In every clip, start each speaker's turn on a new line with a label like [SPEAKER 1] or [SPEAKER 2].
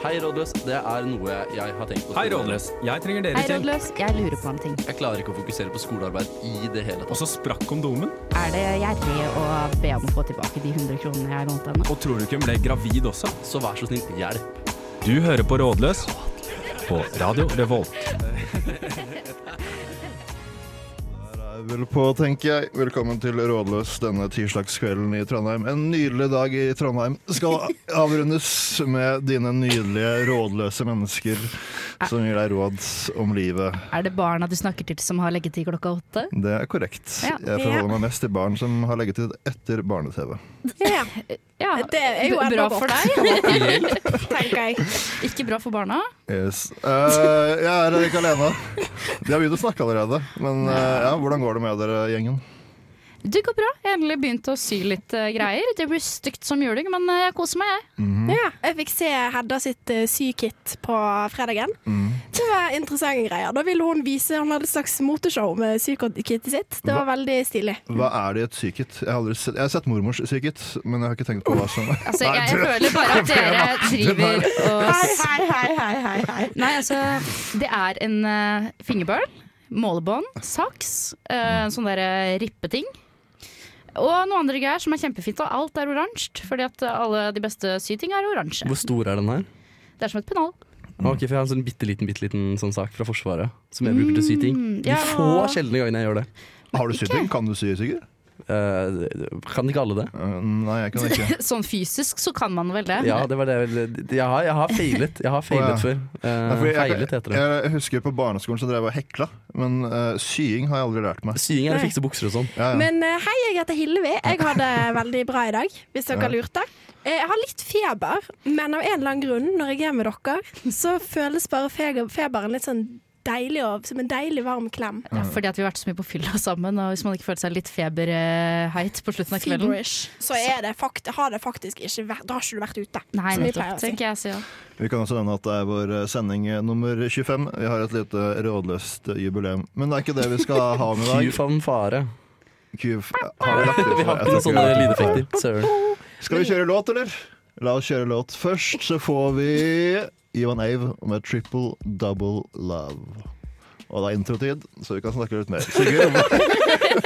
[SPEAKER 1] Hei, rådløs. Det er noe jeg har tenkt på.
[SPEAKER 2] Hei, Rådløs. Jeg trenger
[SPEAKER 3] Hei,
[SPEAKER 2] deres hjelp.
[SPEAKER 3] rådløs. Jeg lurer på en ting.
[SPEAKER 1] Jeg klarer ikke å fokusere på skolearbeid i det hele
[SPEAKER 2] Og
[SPEAKER 1] tatt.
[SPEAKER 2] så sprakk kondomen.
[SPEAKER 3] Er det gjerrig å be om å få tilbake de 100 kronene jeg lånte henne?
[SPEAKER 2] Og tror du ikke hun ble gravid også?
[SPEAKER 1] Så vær så snill, hjelp.
[SPEAKER 2] Du hører på Rådløs på Radio Revolt.
[SPEAKER 4] Vel på, tenker jeg. Velkommen til Rådløs denne tirsdagskvelden i Trondheim. En nydelig dag i Trondheim skal avrundes med dine nydelige rådløse mennesker som gir deg råd om livet.
[SPEAKER 3] Er det barna du snakker til som har leggetid klokka åtte?
[SPEAKER 4] Det er korrekt.
[SPEAKER 3] Ja.
[SPEAKER 4] Jeg forholder meg mest til barn som har leggetid etter barne-TV.
[SPEAKER 5] Ja,
[SPEAKER 3] Ja,
[SPEAKER 5] det er jo
[SPEAKER 3] Eh, b- bra
[SPEAKER 5] enda godt.
[SPEAKER 3] for deg.
[SPEAKER 5] tenker jeg.
[SPEAKER 3] Ikke bra for barna.
[SPEAKER 4] Yes. Eh, jeg er ikke alene. De har begynt å snakke allerede. Men eh, ja, hvordan går det med dere, gjengen?
[SPEAKER 3] Det går bra. Jeg har endelig begynt å sy litt eh, greier. Det blir stygt som juling, men eh, jeg koser meg, jeg.
[SPEAKER 4] Mm.
[SPEAKER 5] Ja, jeg fikk se Hedda sitt eh, sykit på fredagen.
[SPEAKER 4] Mm.
[SPEAKER 5] Det var interessante greier. Da ville hun vise Hun hadde et slags moteshow med sykittet sitt. Det var veldig stilig.
[SPEAKER 4] Hva er det i et psykit? Jeg har, aldri sett, jeg har sett mormors psykit, men jeg har ikke tenkt på hva som
[SPEAKER 3] Altså,
[SPEAKER 4] Nei,
[SPEAKER 3] jeg, jeg
[SPEAKER 4] det-
[SPEAKER 3] føler bare at dere driver og
[SPEAKER 5] Hei, hei, hei, hei, hei.
[SPEAKER 3] Nei, altså, det er en eh, fingerbøl, målebånd, saks, eh, en sånn der eh, rippeting. Og noen andre greier som er kjempefint, og alt er oransje. Fordi at alle de beste syting er oransje.
[SPEAKER 1] Hvor stor er den her?
[SPEAKER 3] Det er som et pennal.
[SPEAKER 1] Ok, for Jeg har en sånn bitte liten, bitte liten sånn sak fra Forsvaret som jeg bruker til syting. De
[SPEAKER 4] Mm,
[SPEAKER 3] ja.
[SPEAKER 1] få sjeldne gangene jeg gjør det.
[SPEAKER 4] Har du syting? Kan du sy, Sigurd?
[SPEAKER 1] Eh, kan ikke alle det?
[SPEAKER 4] Eh, nei, jeg kan ikke.
[SPEAKER 3] Sånn fysisk så kan man vel det.
[SPEAKER 1] Ja, det var det Jeg har, jeg har feilet. Jeg har
[SPEAKER 4] Å, ja.
[SPEAKER 1] feilet før. Eh,
[SPEAKER 4] Nei, fordi jeg,
[SPEAKER 1] feilet heter det.
[SPEAKER 4] jeg, husker på barneskolen så drev jeg og hekla, men eh, sying har jeg aldri lært meg.
[SPEAKER 1] Sying er å
[SPEAKER 5] Nei.
[SPEAKER 1] fikse bukser og sånn.
[SPEAKER 4] Ja, ja.
[SPEAKER 5] Men eh, hei, jeg heter Hillevi. Jeg har det veldig bra i dag, hvis dere lurte. Eh, Jeg har litt feber, men av en eller annen grunn, når jeg er med dere, så føles bare feber, feberen litt sånn deilig og som en deilig, varm klem.
[SPEAKER 3] Ja, fordi at vi har vært så mye på fylla sammen, og hvis man ikke føler seg litt feberheit på slutten av kvelden
[SPEAKER 5] Feverish. Så er det fakt har det faktisk ikke vært Da har ikke du vært ute.
[SPEAKER 3] Nei,
[SPEAKER 5] som vi pleier
[SPEAKER 3] nettopp,
[SPEAKER 5] å si.
[SPEAKER 3] tenker jeg. Så, ja.
[SPEAKER 4] Vi kan også nevne at det er vår eh, sending eh, nummer 25. Vi har et lite rådløst eh, jubileum. Men det er ikke det vi skal ha med i dag.
[SPEAKER 1] Q-fanfare.
[SPEAKER 4] Kuf. Har vi lagt ut?
[SPEAKER 1] Vi har
[SPEAKER 4] Jeg
[SPEAKER 1] ikke noen
[SPEAKER 4] tror
[SPEAKER 1] sånne
[SPEAKER 4] vi har lagt ut.
[SPEAKER 1] lydeffekter. Søren.
[SPEAKER 4] Skal vi kjøre låt, eller? La oss kjøre låt. Først så får vi Ivan Ave med 'Triple Double Love'. Og det er introtid, så vi kan snakke litt mer. Sigurd,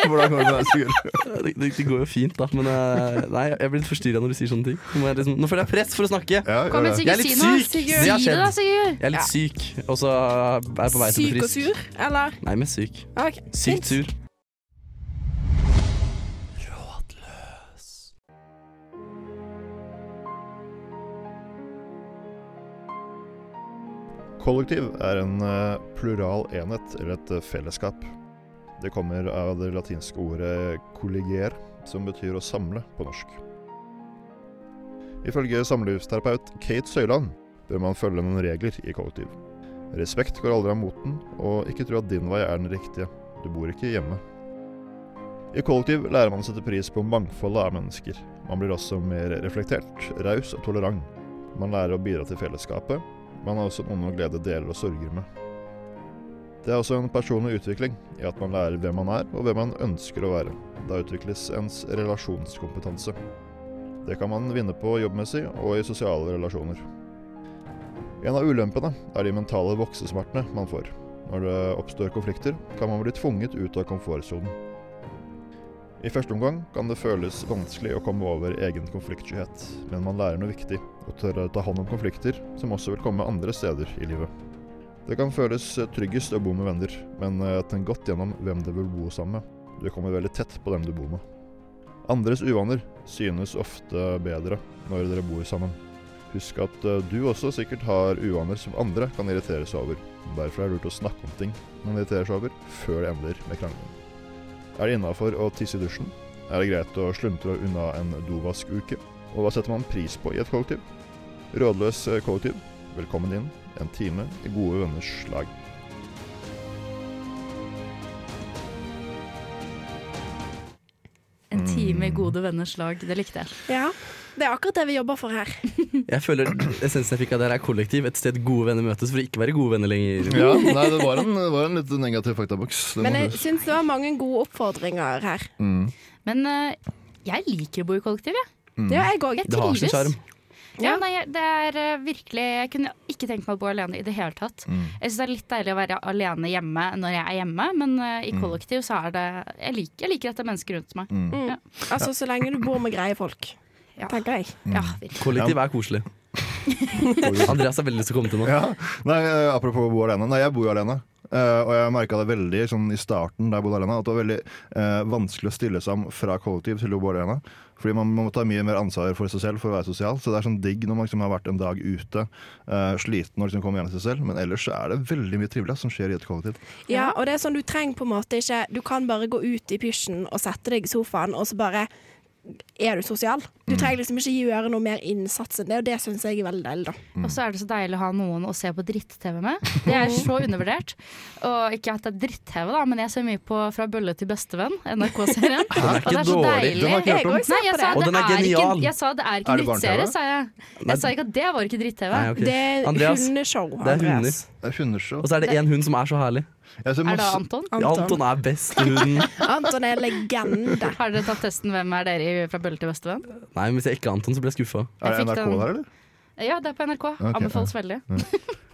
[SPEAKER 4] hvordan går det med deg? Sigurd?
[SPEAKER 1] Det, det, det går jo fint, da, men eh, nei, jeg blir litt forstyrra når du sier sånne ting. Nå, må jeg liksom, nå føler jeg press for å snakke.
[SPEAKER 4] Ja, gjør
[SPEAKER 3] Kom
[SPEAKER 4] det.
[SPEAKER 3] igjen,
[SPEAKER 1] Jeg er
[SPEAKER 3] Sigurd.
[SPEAKER 1] litt
[SPEAKER 3] Si noe.
[SPEAKER 1] syk.
[SPEAKER 3] Sigurd.
[SPEAKER 1] Det har
[SPEAKER 3] Si det, da,
[SPEAKER 1] skjedd.
[SPEAKER 3] Sigurd.
[SPEAKER 1] Jeg er litt syk, og så er jeg på vei til å
[SPEAKER 5] Syk
[SPEAKER 1] bli
[SPEAKER 5] og
[SPEAKER 1] frisk.
[SPEAKER 5] sur, eller?
[SPEAKER 1] Nei, men syk.
[SPEAKER 5] Ok,
[SPEAKER 1] Sykt
[SPEAKER 5] fint.
[SPEAKER 1] sur.
[SPEAKER 4] Kollektiv er en eh, plural enhet, eller et eh, fellesskap. Det kommer av det latinske ordet 'colliger', som betyr å samle på norsk. Ifølge samlivsterapeut Kate Søyland bør man følge noen regler i kollektiv. Respekt går aldri av moten, og ikke tro at din vei er den riktige. Du bor ikke hjemme. I kollektiv lærer man å sette pris på mangfoldet av mennesker. Man blir også mer reflektert, raus og tolerant. Man lærer å bidra til fellesskapet, man har også noen å glede deler og sorger med. Det er også en personlig utvikling i at man lærer hvem man er og hvem man ønsker å være. Da utvikles ens relasjonskompetanse. Det kan man vinne på jobbmessig og i sosiale relasjoner. En av ulempene er de mentale voksesmertene man får. Når det oppstår konflikter, kan man bli tvunget ut av komfortsonen. I første omgang kan det føles vanskelig å komme over egen konfliktskyhet, men man lærer noe viktig og tørre å ta hånd om konflikter som også vil komme andre steder i livet. Det kan føles eh, tryggest å bo med venner, men eh, tenk godt gjennom hvem du vil bo sammen med. Du kommer veldig tett på dem du bor med. Andres uvaner synes ofte bedre når dere bor sammen. Husk at eh, du også sikkert har uvaner som andre kan irritere seg over. Derfor er det lurt å snakke om ting man irriterer seg over, før det ender med krangling. Er det innafor å tisse i dusjen? Er det greit å sluntre unna en dovaskuke? Og hva setter man pris på i et kollektiv? Rådløs eh, kollektiv, velkommen inn. En time i gode venners lag.
[SPEAKER 3] En time i
[SPEAKER 1] Mm.
[SPEAKER 3] gode venners lag. Det likte jeg.
[SPEAKER 5] Ja, det er akkurat det vi jobber for her.
[SPEAKER 1] Jeg føler essensen jeg fikk av det her, er kollektiv. Et sted gode venner møtes for å ikke være gode venner lenger.
[SPEAKER 4] Ja, nei, det var en, det var en litt negativ faktaboks. Det må
[SPEAKER 5] Men jeg
[SPEAKER 4] du-
[SPEAKER 5] syns det var mange gode oppfordringer her.
[SPEAKER 4] Mm.
[SPEAKER 3] Men eh, jeg liker å bo i kollektiv, jeg.
[SPEAKER 1] Mm.
[SPEAKER 5] Det gjør jeg òg.
[SPEAKER 1] Det har sin sjarm.
[SPEAKER 3] Ja,
[SPEAKER 5] Ja.
[SPEAKER 3] nei, jeg- det er eh, virkelig Jeg kunne ikke tenkt meg å bo alene i det hele tatt.
[SPEAKER 1] Mm.
[SPEAKER 3] Jeg syns det er litt deilig å være alene hjemme når jeg er hjemme, men eh,
[SPEAKER 1] Mm.
[SPEAKER 3] i kollektiv så er det Jeg liker, jeg liker at det er mennesker rundt meg.
[SPEAKER 5] Mm.
[SPEAKER 3] Ja.
[SPEAKER 5] Altså, så lenge du bor med greie folk,
[SPEAKER 3] Ja.
[SPEAKER 5] tenker jeg.
[SPEAKER 3] Ja,
[SPEAKER 1] Mm.
[SPEAKER 3] virkelig.
[SPEAKER 1] Kollektiv er koselig. Andreas har veldig lyst til å komme til nå.
[SPEAKER 4] Ja. Nei, eh, apropos å bo alene. Nei, jeg bor jo alene. Eh, og jeg merka det veldig sånn, i starten da jeg bodde alene, at det var veldig eh, vanskelig å stille seg om fra kollektiv til å bo alene. Fordi man må ta mye mer ansvar for seg selv for å være sosial. Så det er sånn digg når man liksom har vært en dag ute, eh, sliten og liksom kommer hjem til seg selv. Men ellers så er det veldig mye trivelig som skjer i et kollektiv.
[SPEAKER 5] Ja, og det er sånn du trenger på en måte ikke Du kan bare gå ut i pysjen og sette deg i sofaen, og så bare er du sosial. Du trenger liksom ikke gjøre noe mer innsats enn det, og det syns jeg er veldig deilig, da.
[SPEAKER 1] Mm.
[SPEAKER 3] Og så er det så deilig å ha noen å se på dritt-TV med. Det er så undervurdert. Og ikke at det er dritt-TV, da, men jeg ser mye på Fra bølle til bestevenn, NRK-serien.
[SPEAKER 1] Den er
[SPEAKER 3] Og det
[SPEAKER 1] ikke
[SPEAKER 3] er så
[SPEAKER 1] dårlig.
[SPEAKER 3] deilig.
[SPEAKER 4] Den har ikke hørt om.
[SPEAKER 5] Jeg
[SPEAKER 3] Nei, jeg sa
[SPEAKER 1] Og
[SPEAKER 3] det
[SPEAKER 1] den er
[SPEAKER 3] er ikke,
[SPEAKER 1] genial.
[SPEAKER 3] jeg sa det er ikke
[SPEAKER 4] Er det
[SPEAKER 3] dritt-serie,
[SPEAKER 4] barne-TV?
[SPEAKER 3] sa jeg.
[SPEAKER 1] Nei.
[SPEAKER 3] Jeg sa ikke at det var ikke dritt-TV.
[SPEAKER 1] Nei, ok.
[SPEAKER 5] Det er
[SPEAKER 1] Andreas,
[SPEAKER 5] hundeshow,
[SPEAKER 1] Det er hunder.
[SPEAKER 5] Andreas.
[SPEAKER 4] Det er hundeshow.
[SPEAKER 1] Og så er det én hund som er så herlig.
[SPEAKER 4] Jeg ser
[SPEAKER 3] Er det
[SPEAKER 4] masse-
[SPEAKER 3] Anton?
[SPEAKER 1] Ja, Anton er best hunden.
[SPEAKER 5] Anton er legende.
[SPEAKER 3] Har dere tatt testen 'Hvem er dere?' i Fra bølle til bestevenn?
[SPEAKER 1] Nei, men Hvis jeg ikke er Anton, så blir jeg skuffa.
[SPEAKER 4] Er det
[SPEAKER 3] Jeg fikk
[SPEAKER 4] NRK
[SPEAKER 3] den-
[SPEAKER 4] der, eller?
[SPEAKER 3] Ja, det er på NRK. Anbefales veldig.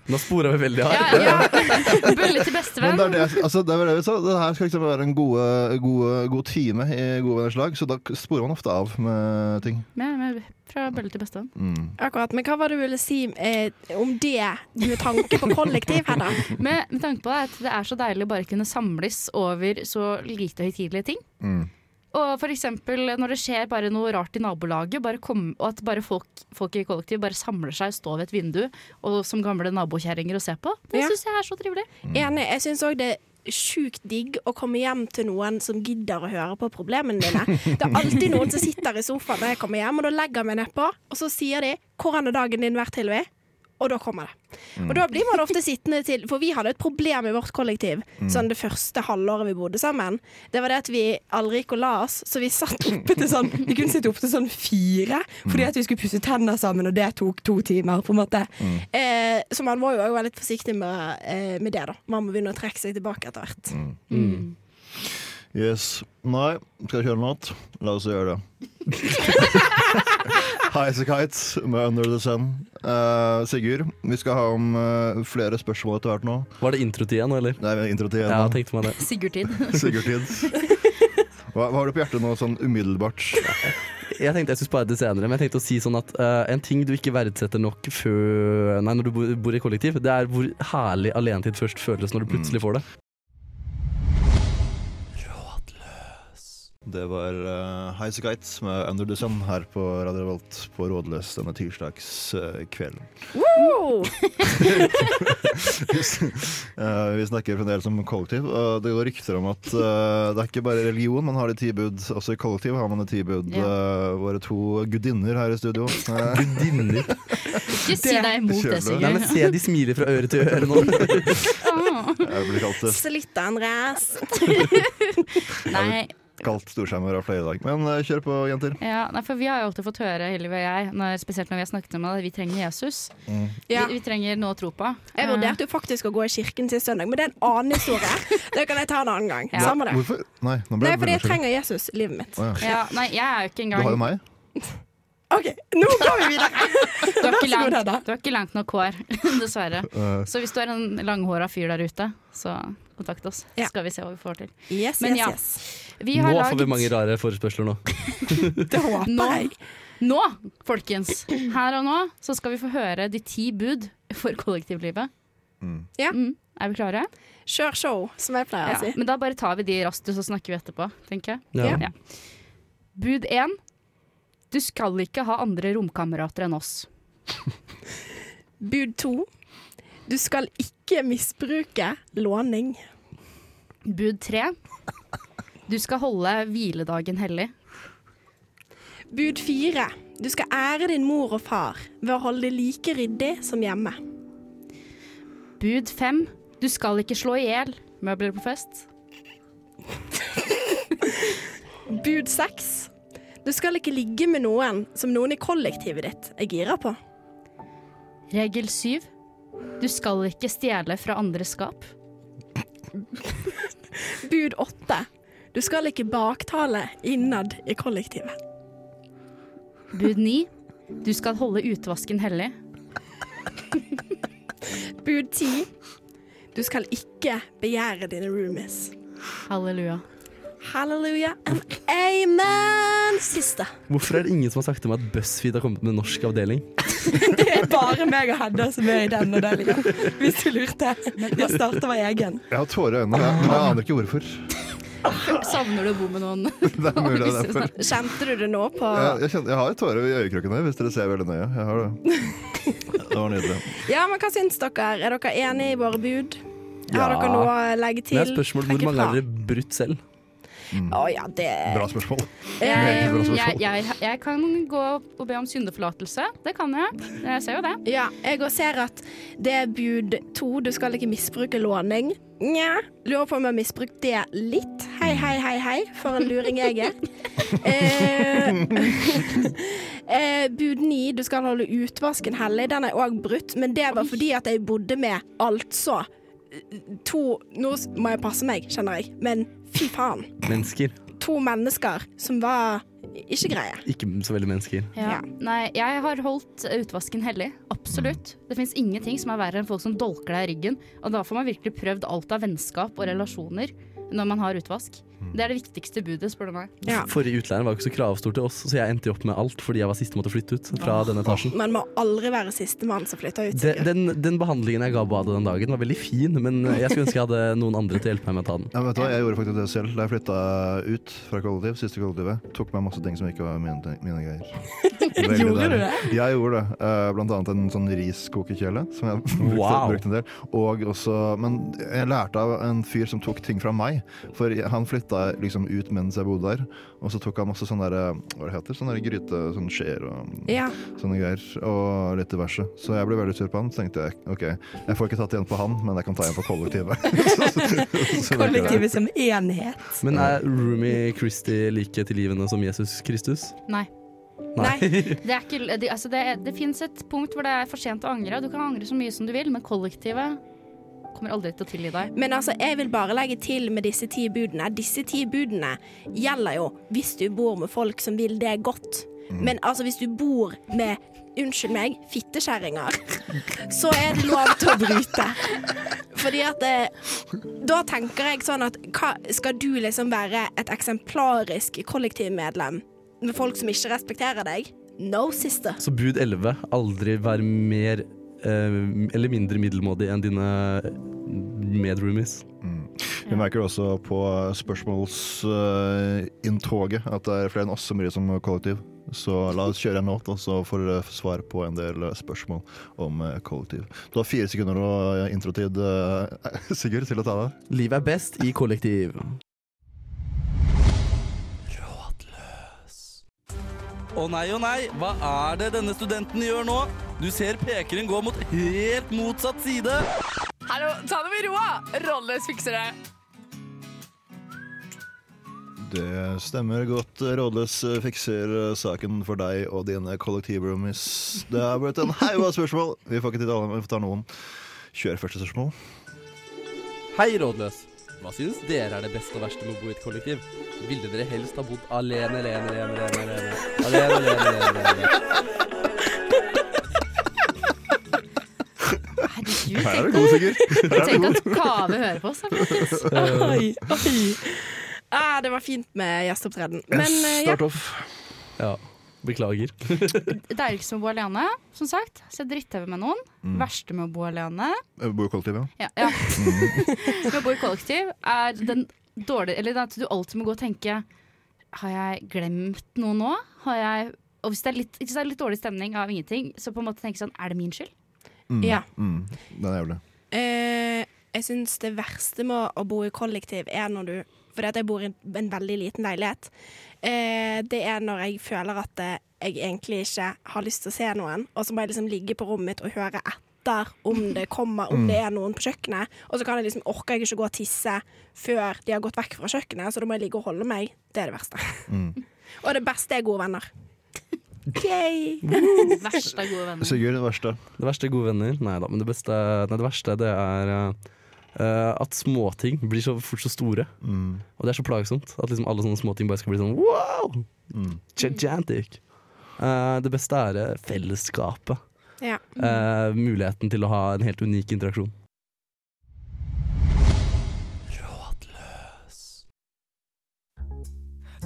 [SPEAKER 1] Nå sporer vi veldig
[SPEAKER 3] Ja,
[SPEAKER 1] her.
[SPEAKER 3] ja. Bølle til
[SPEAKER 4] Men
[SPEAKER 3] bestevenn.
[SPEAKER 4] det er det, jeg- altså, det er vel det vi sa. Det her skal liksom være en gode, gode, god time i gode venners lag, så da sporer man ofte av med ting.
[SPEAKER 3] Med, med, fra bølle til bestevenn.
[SPEAKER 4] Mm.
[SPEAKER 5] Akkurat, Men hva var det du ville si eh, om det med tanke på kollektiv, Hedda?
[SPEAKER 3] Med, med tanke på at det er så deilig å bare kunne samles over så lite høytidelige ting.
[SPEAKER 4] Mm.
[SPEAKER 3] Og for eksempel når det skjer bare noe rart i nabolaget, bare kom, og at bare folk, folk i kollektiv bare samler seg og står ved et vindu og som gamle nabokjerringer og ser på. Det
[SPEAKER 5] Ja.
[SPEAKER 3] synes syns jeg er så trivelig.
[SPEAKER 5] Enig. Jeg syns òg det er sjukt digg å komme hjem til noen som gidder å høre på problemene dine. Det er alltid noen som sitter i sofaen når jeg kommer hjem, og da legger jeg meg nedpå, og så sier de 'Hvordan har dagen din vært, Hilvi?' Og da kommer det. Og da blir man ofte sittende til For vi hadde et problem i vårt kollektiv sånn det første halvåret vi bodde sammen. Det var det at vi aldri gikk og la oss, så vi satt oppe til sånn Vi kunne sitte oppe til sånn fire fordi at vi skulle pusse tenner sammen, og det tok to timer, på en måte. Eh, så man må jo også være litt forsiktig med, eh, med det, da. Man må begynne å trekke seg tilbake etter hvert.
[SPEAKER 4] Yes. Nei, skal jeg kjøre noe annet? La oss gjøre det. Highasakite med Under the Sun. Eh, Sigurd, vi skal ha om eh, flere spørsmål etter hvert nå.
[SPEAKER 1] Var det introtida nå, eller?
[SPEAKER 4] Det er intro til
[SPEAKER 1] Ja, jeg
[SPEAKER 4] igjen.
[SPEAKER 1] tenkte meg det.
[SPEAKER 3] Sigurdtid.
[SPEAKER 4] Sigurd-tid. Hva, hva har du på hjertet nå, sånn umiddelbart?
[SPEAKER 1] Jeg tenkte jeg skulle spare det senere, men jeg tenkte å si sånn at eh, en ting du ikke verdsetter nok før Nei, når du bor, bor i kollektiv, det er hvor herlig alenetid først føles når du plutselig får det.
[SPEAKER 4] Det var uh, Highasakite med Under the Sun her på Radio Revolt på Rådløs denne tirsdagskvelden.
[SPEAKER 5] Woo!
[SPEAKER 4] Eh, vi snakker fremdeles om kollektiv, og det går rykter om at eh, det er ikke bare religion man har i tilbud. Også i kollektiv har man i tilbud
[SPEAKER 3] Ja.
[SPEAKER 4] eh, våre to gudinner her i studio. Eh,
[SPEAKER 1] Gudinner.
[SPEAKER 3] Ikke si deg imot det,
[SPEAKER 4] Kjøper du?
[SPEAKER 1] Nei, men
[SPEAKER 3] Sigurd.
[SPEAKER 1] se de smiler fra øre til øre nå.
[SPEAKER 4] jeg blir kalt,
[SPEAKER 5] Slutt, Andreas.
[SPEAKER 3] Nei.
[SPEAKER 4] kalt storskjermer av flere i dag. Men eh, kjør på, jenter.
[SPEAKER 3] Ja, nei, for vi har jo alltid fått høre, Hilvi og jeg, når, spesielt når vi har snakket om det, vi trenger Jesus.
[SPEAKER 4] Mm.
[SPEAKER 5] Ja.
[SPEAKER 3] Vi, vi trenger noe å tro på.
[SPEAKER 5] Jeg vurderte jo faktisk å gå i kirken sist søndag, men det er en annen historie. Det kan jeg ta en annen gang.
[SPEAKER 3] Ja.
[SPEAKER 5] Samme det.
[SPEAKER 4] Hvorfor? Nei, nå ble
[SPEAKER 5] Nei, fordi jeg
[SPEAKER 4] veldig
[SPEAKER 5] trenger Jesus i livet mitt.
[SPEAKER 4] Å, ja.
[SPEAKER 3] Eh, Ja, nei, jeg er jo ikke
[SPEAKER 4] Du
[SPEAKER 3] engang
[SPEAKER 4] har jo meg.
[SPEAKER 5] OK, nå går vi videre.
[SPEAKER 3] Du har ikke
[SPEAKER 5] Vær så god,
[SPEAKER 3] langt,
[SPEAKER 5] Hedda.
[SPEAKER 3] du har ikke langt nok hår, dessverre.
[SPEAKER 4] Eh,
[SPEAKER 3] Så hvis du er en langhåra fyr der ute, så kontakt oss.
[SPEAKER 5] Ja.
[SPEAKER 3] Så skal vi se hva vi får til.
[SPEAKER 5] Yes,
[SPEAKER 3] Men
[SPEAKER 5] yes,
[SPEAKER 3] ja.
[SPEAKER 5] yes.
[SPEAKER 3] Vi
[SPEAKER 1] Nå
[SPEAKER 3] har
[SPEAKER 1] får vi
[SPEAKER 3] laget-
[SPEAKER 1] mange rare forespørsler nå.
[SPEAKER 5] Det håper
[SPEAKER 3] Nå-
[SPEAKER 5] jeg.
[SPEAKER 3] Nå, folkens, her og nå, så skal vi få høre de ti bud for kollektivlivet.
[SPEAKER 4] Mm.
[SPEAKER 5] Ja.
[SPEAKER 3] Mm. Er vi klare?
[SPEAKER 5] Kjør show, som jeg pleier å si.
[SPEAKER 3] Men da bare tar vi de raskt, og så snakker vi etterpå, tenker jeg.
[SPEAKER 1] Ja.
[SPEAKER 3] Ja. Bud én. Du skal ikke ha andre romkamerater enn oss.
[SPEAKER 5] Bud to. Du skal ikke misbruke låning.
[SPEAKER 3] Bud tre. Du skal holde hviledagen hellig.
[SPEAKER 5] Bud fire. Du skal ære din mor og far ved å holde det like ryddig som hjemme.
[SPEAKER 3] Bud fem. Du skal ikke slå i hjel møbler på fest.
[SPEAKER 5] Bud seks. Du skal ikke ligge med noen som noen i kollektivet ditt er gira på.
[SPEAKER 3] Regel syv. Du skal ikke stjele fra andre skap.
[SPEAKER 5] Bud åtte. Du skal ikke baktale innad i kollektivet.
[SPEAKER 3] Bud ni. Du skal holde utvasken hellig.
[SPEAKER 5] Bud ti. Du skal ikke begjære dine roomies.
[SPEAKER 3] Halleluja.
[SPEAKER 5] Halleluja and amen! Siste.
[SPEAKER 1] Hvorfor er det ingen som har sagt til meg at BuzzFeed har kommet med norsk avdeling?
[SPEAKER 6] Det er bare meg og Hedda som er i den og den ligaen, hvis du lurte. Vi har starta vår egen.
[SPEAKER 4] Jeg har tårer i øynene, jeg, men jeg aner ikke hvorfor.
[SPEAKER 3] Savner du å bo med noen?
[SPEAKER 4] Det er mulig det er derfor.
[SPEAKER 5] Kjente du det nå på
[SPEAKER 4] Jeg, jeg, kjenner, jeg har tårer i øyekrokene, hvis dere ser veldig nøye. Jeg har det. Det var nydelig.
[SPEAKER 5] Ja, men hva syns dere? Er dere enige i våre bud?
[SPEAKER 1] Ja.
[SPEAKER 5] Har dere noe å legge til?
[SPEAKER 1] Det er et spørsmål hvor
[SPEAKER 5] Trekke
[SPEAKER 1] mange
[SPEAKER 5] fra?
[SPEAKER 1] har dere brutt selv?
[SPEAKER 5] Å ja, det
[SPEAKER 4] Bra spørsmål.
[SPEAKER 3] Jeg,
[SPEAKER 4] Veldig bra
[SPEAKER 3] Eh, jeg,
[SPEAKER 4] spørsmål.
[SPEAKER 3] jeg, jeg kan gå og be om syndeforlatelse. Det kan jeg. Jeg ser jo det.
[SPEAKER 5] Ja, jeg også ser at det er bud to, du skal ikke misbruke låning. Nja, lurer på om jeg har misbrukt det litt. Hei, hei, hei, hei, for en luring jeg er. eh, eh, bud ni, du skal holde utvasken hellig. Den er òg brutt, men det var fordi at jeg bodde med altså to Nå s- må jeg passe meg, kjenner jeg, men fy faen.
[SPEAKER 1] Mennesker.
[SPEAKER 5] To mennesker som var ikke greie.
[SPEAKER 1] Ikke så veldig mennesker.
[SPEAKER 3] Ja.
[SPEAKER 5] Ja.
[SPEAKER 3] Nei, jeg har holdt utvasken hellig. Absolutt. Det fins ingenting som er verre enn folk som dolker deg i ryggen. Og da får man virkelig prøvd alt av vennskap og relasjoner når man har utvask. Det er det viktigste budet, spør du meg.
[SPEAKER 5] Ja.
[SPEAKER 1] Forrige utleier var jo ikke så kravstor til oss, så jeg endte jo opp med alt fordi jeg var siste måtte flytte ut fra denne etasjen.
[SPEAKER 5] Man må aldri være sistemann som flytter ut.
[SPEAKER 1] Den, den, den behandlingen jeg ga badet den dagen, var veldig fin, men eh, jeg skulle ønske jeg hadde noen andre til å hjelpe meg med å ta den.
[SPEAKER 4] Ja, men vet du hva, Jeg gjorde faktisk det selv da jeg flytta ut fra kollektiv. Siste kollektivet. Tok meg masse ting som ikke var mine, ting- mine greier. Veldig
[SPEAKER 6] Gjorde du
[SPEAKER 4] deilig. Jeg gjorde det. Eh, Blant annet en sånn riskokekjele som jeg brukte,
[SPEAKER 1] Wow.
[SPEAKER 4] brukte en del. Og også, men jeg lærte av en fyr som tok ting fra meg. For jeg- han flytta liksom ut mens jeg bodde der. Og så tok han masse sånne der, eh, hva det heter, sånne der gryte, sånne skjeer og
[SPEAKER 5] Ja.
[SPEAKER 4] sånne greier. Og litt diverse. Så jeg ble veldig sur på han. Så tenkte jeg OK, jeg får ikke tatt igjen på han, men jeg kan ta igjen på kollektivet. Så- så- så-
[SPEAKER 6] Kollektivet som enhet.
[SPEAKER 1] Men er Rumi Christie like til livene som Jesus Kristus?
[SPEAKER 3] Nei.
[SPEAKER 1] Nei.
[SPEAKER 3] Det, er ikke, det, altså det, det fins et punkt hvor det er for sent å angre. Du kan angre så mye som du vil, men kollektivet kommer aldri til å tilgi deg.
[SPEAKER 5] Men altså, jeg vil bare legge til med disse ti budene. Disse ti budene gjelder jo hvis du bor med folk som vil det godt. Men altså, hvis du bor med Unnskyld meg, fittekjerringer. Så er det lov til å bryte. Fordi at eh, Da tenker jeg sånn at hva, skal du liksom være et eksemplarisk kollektivmedlem med folk som ikke respekterer deg? No, sister.
[SPEAKER 1] Så bud 11, aldri vær mer eh, eller mindre middelmådig enn dine eh, medroomies.
[SPEAKER 4] Vi merker også på spørsmålsinntoget at det er flere enn oss som bryr seg om kollektiv. Så la oss kjøre en låt, og så får dere svar på en del spørsmål om eh, kollektiv. Du har fire sekunder og introtid, eh, Sigurd, til å ta deg.
[SPEAKER 1] Livet er best i kollektiv. Å nei, å nei, hva er det denne studenten gjør nå? Du ser pekeren gå mot helt motsatt side.
[SPEAKER 7] Hallo, ta det med ro! Rolles fikser det.
[SPEAKER 4] Det stemmer godt. Rådløs fikser saken for deg og dine kollektivroomies. Det er blitt en haug av spørsmål. Vi får ikke tid til alle, men vi får ta noen. Kjør første spørsmål.
[SPEAKER 1] Hei, rådløs. Hva synes dere er det beste og verste med å bo i et kollektiv? Ville dere helst ha bodd alene, alene, alene, alene, alene, alene, alene, alene, alene.
[SPEAKER 3] Herregud, tenk,
[SPEAKER 4] Her er du god, Sigurd.
[SPEAKER 3] tenk at Kave hører på oss. da, folkens.
[SPEAKER 6] Oi, oi.
[SPEAKER 5] Ah, det var fint med gjesteopptreden. Men
[SPEAKER 4] Yes,
[SPEAKER 5] eh, ja.
[SPEAKER 4] start off.
[SPEAKER 1] Ja, beklager.
[SPEAKER 3] Det er jo ikke som å bo alene, som sagt. Se dritt-TV med noen. Verste med å bo alene.
[SPEAKER 4] Jeg bor i kollektiv, ja.
[SPEAKER 3] Ja, ja. Med å bo i kollektiv er den dårlig Eller at du alltid må gå og tenke Har jeg glemt noe nå? Har jeg og hvis det, er litt, hvis det er litt dårlig stemning av ingenting, så på en måte tenke sånn Er det min skyld?
[SPEAKER 4] Mm.
[SPEAKER 5] Ja.
[SPEAKER 4] Mm. Den er jævlig.
[SPEAKER 5] Eh, jeg syns det verste med å bo i kollektiv er når du Fordi at jeg bor i en veldig liten leilighet. Eh, det er når jeg føler at eh, jeg egentlig ikke har lyst til å se noen, og så må jeg liksom ligge på rommet mitt og høre etter om det kommer, om det er noen på kjøkkenet. Og så kan jeg liksom, orker jeg ikke gå og tisse før de har gått vekk fra kjøkkenet, så da må jeg ligge og holde meg. Det er det verste. og det beste er gode venner. Yay!
[SPEAKER 3] Verst av gode venner.
[SPEAKER 4] Sigurd, det verste.
[SPEAKER 1] Det verste er gode venner. Nei da, men det, beste, nei, det verste det er eh, at småting blir så fort så store.
[SPEAKER 4] Mm.
[SPEAKER 1] Og det er så plagsomt at liksom alle sånne småting bare skal bli sånn wow! Gigantic. Eh, det beste er eh, fellesskapet.
[SPEAKER 5] Ja.
[SPEAKER 1] Eh, muligheten til å ha en helt unik interaksjon.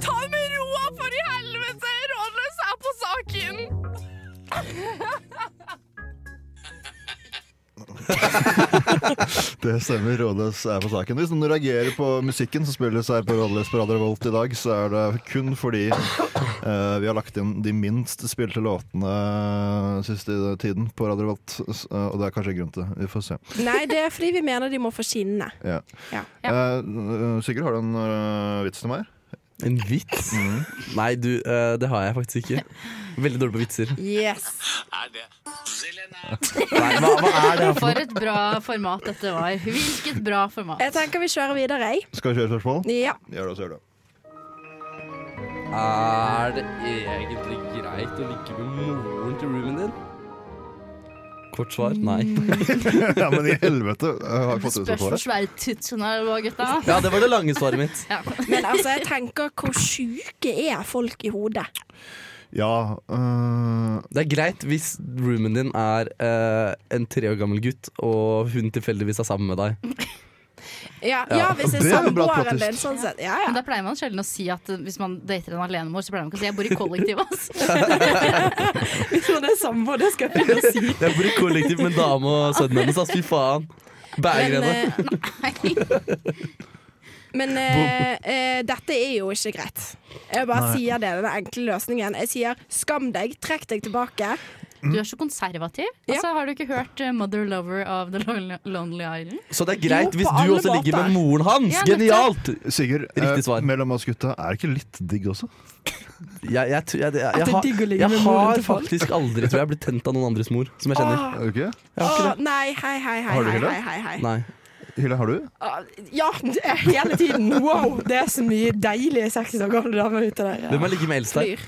[SPEAKER 7] Ta det med ro, for i helvete! Rådløs er på saken!
[SPEAKER 4] Det stemmer. Rådløs er på saken. Hvis noen reagerer på musikken som spilles her på Rådløs på Radio Volt i dag, så er det kun fordi eh, vi har lagt inn de minst spilte låtene eh, siste tiden på Radio Volt. S- eh, og det er kanskje en grunn til det. Vi får se.
[SPEAKER 5] Nei, det er fordi vi mener de må få skinne.
[SPEAKER 4] Ja.
[SPEAKER 5] Ja.
[SPEAKER 4] Eh, eh, Sigurd, har du en eh, vits til meg?
[SPEAKER 1] En vits? Nei, du, eh, det har jeg faktisk ikke. Veldig dårlig på vitser.
[SPEAKER 5] Yes.
[SPEAKER 1] Nei, hva, hva er det her for noe?
[SPEAKER 3] For et bra format dette var. Hvilket bra format.
[SPEAKER 5] Jeg tenker vi kjører videre, jeg.
[SPEAKER 4] Skal vi kjøre spørsmål?
[SPEAKER 5] Ja.
[SPEAKER 4] Gjør det, så gjør det.
[SPEAKER 1] Er det egentlig greit å ligge med moren til roomien din? Kort svar nei.
[SPEAKER 4] ja, men i helvete! Jeg har fått det
[SPEAKER 3] Spørs hvor
[SPEAKER 4] svaret.
[SPEAKER 3] svære tuts hun er, hva, gutta.
[SPEAKER 1] Ja, det var det lange svaret mitt.
[SPEAKER 3] Ja.
[SPEAKER 5] Men altså, jeg tenker hvor sjuke er folk i hodet?
[SPEAKER 4] Ja. eh,
[SPEAKER 1] Det er greit hvis roomien din er eh, en tre år gammel gutt, og hun tilfeldigvis er sammen med deg.
[SPEAKER 5] Ja, ja hvis jeg
[SPEAKER 4] Det er en bra
[SPEAKER 5] samboeren
[SPEAKER 4] protest.
[SPEAKER 5] din sånn sett. Ja,
[SPEAKER 3] Men
[SPEAKER 5] ja.
[SPEAKER 3] da pleier man sjelden å si at eh, hvis man dater en alenemor, så pleier man ikke å si 'jeg bor i kollektiv', altså. ass.
[SPEAKER 6] Hvis man er samboer, det skal jeg begynne å si.
[SPEAKER 1] Jeg bor i kollektiv med en dame og sønnen hennes, ass. Fy faen. Bærer
[SPEAKER 5] Men,
[SPEAKER 1] henne.
[SPEAKER 5] eh, men eh, eh, dette er jo ikke greit. Jeg bare sier det, den enkle løsningen. Jeg sier skam deg, trekk deg tilbake.
[SPEAKER 4] Mm.
[SPEAKER 3] Du er så konservativ. Altså, har du ikke hørt eh, 'Mother Lover of the Lon- Lonely Island'?
[SPEAKER 1] Så det er greit
[SPEAKER 5] Jo,
[SPEAKER 1] hvis
[SPEAKER 5] på
[SPEAKER 1] du
[SPEAKER 5] alle
[SPEAKER 1] også ligger
[SPEAKER 5] måter.
[SPEAKER 1] med moren hans!
[SPEAKER 3] Ja, nettopp.
[SPEAKER 1] Genialt!
[SPEAKER 4] Sigurd,
[SPEAKER 1] Riktig svar.
[SPEAKER 4] eh, mellom oss gutta, er det ikke litt digg også?
[SPEAKER 1] Jeg, jeg, tror- jeg, jeg,
[SPEAKER 6] det
[SPEAKER 1] jeg,
[SPEAKER 6] er
[SPEAKER 1] har-
[SPEAKER 6] digg å ligge
[SPEAKER 1] jeg
[SPEAKER 6] med moren
[SPEAKER 1] har
[SPEAKER 6] til folk.
[SPEAKER 1] faktisk aldri tror jeg blitt tent av noen andres mor, som jeg kjenner.
[SPEAKER 5] Åh,
[SPEAKER 4] Er det ikke?
[SPEAKER 1] Jeg har
[SPEAKER 5] åh,
[SPEAKER 1] ikke det.
[SPEAKER 5] nei, hei, hei, hei,
[SPEAKER 4] Har du
[SPEAKER 5] hei,
[SPEAKER 4] ikke det?
[SPEAKER 5] hei, hei, hei.
[SPEAKER 1] Nei.
[SPEAKER 4] Hylle, har du?
[SPEAKER 5] Åh, Ja, det er
[SPEAKER 6] Hele tiden. Wow, det er så mye deilige 60 år gamle damer ute der.
[SPEAKER 1] Hvem er like med eldst her?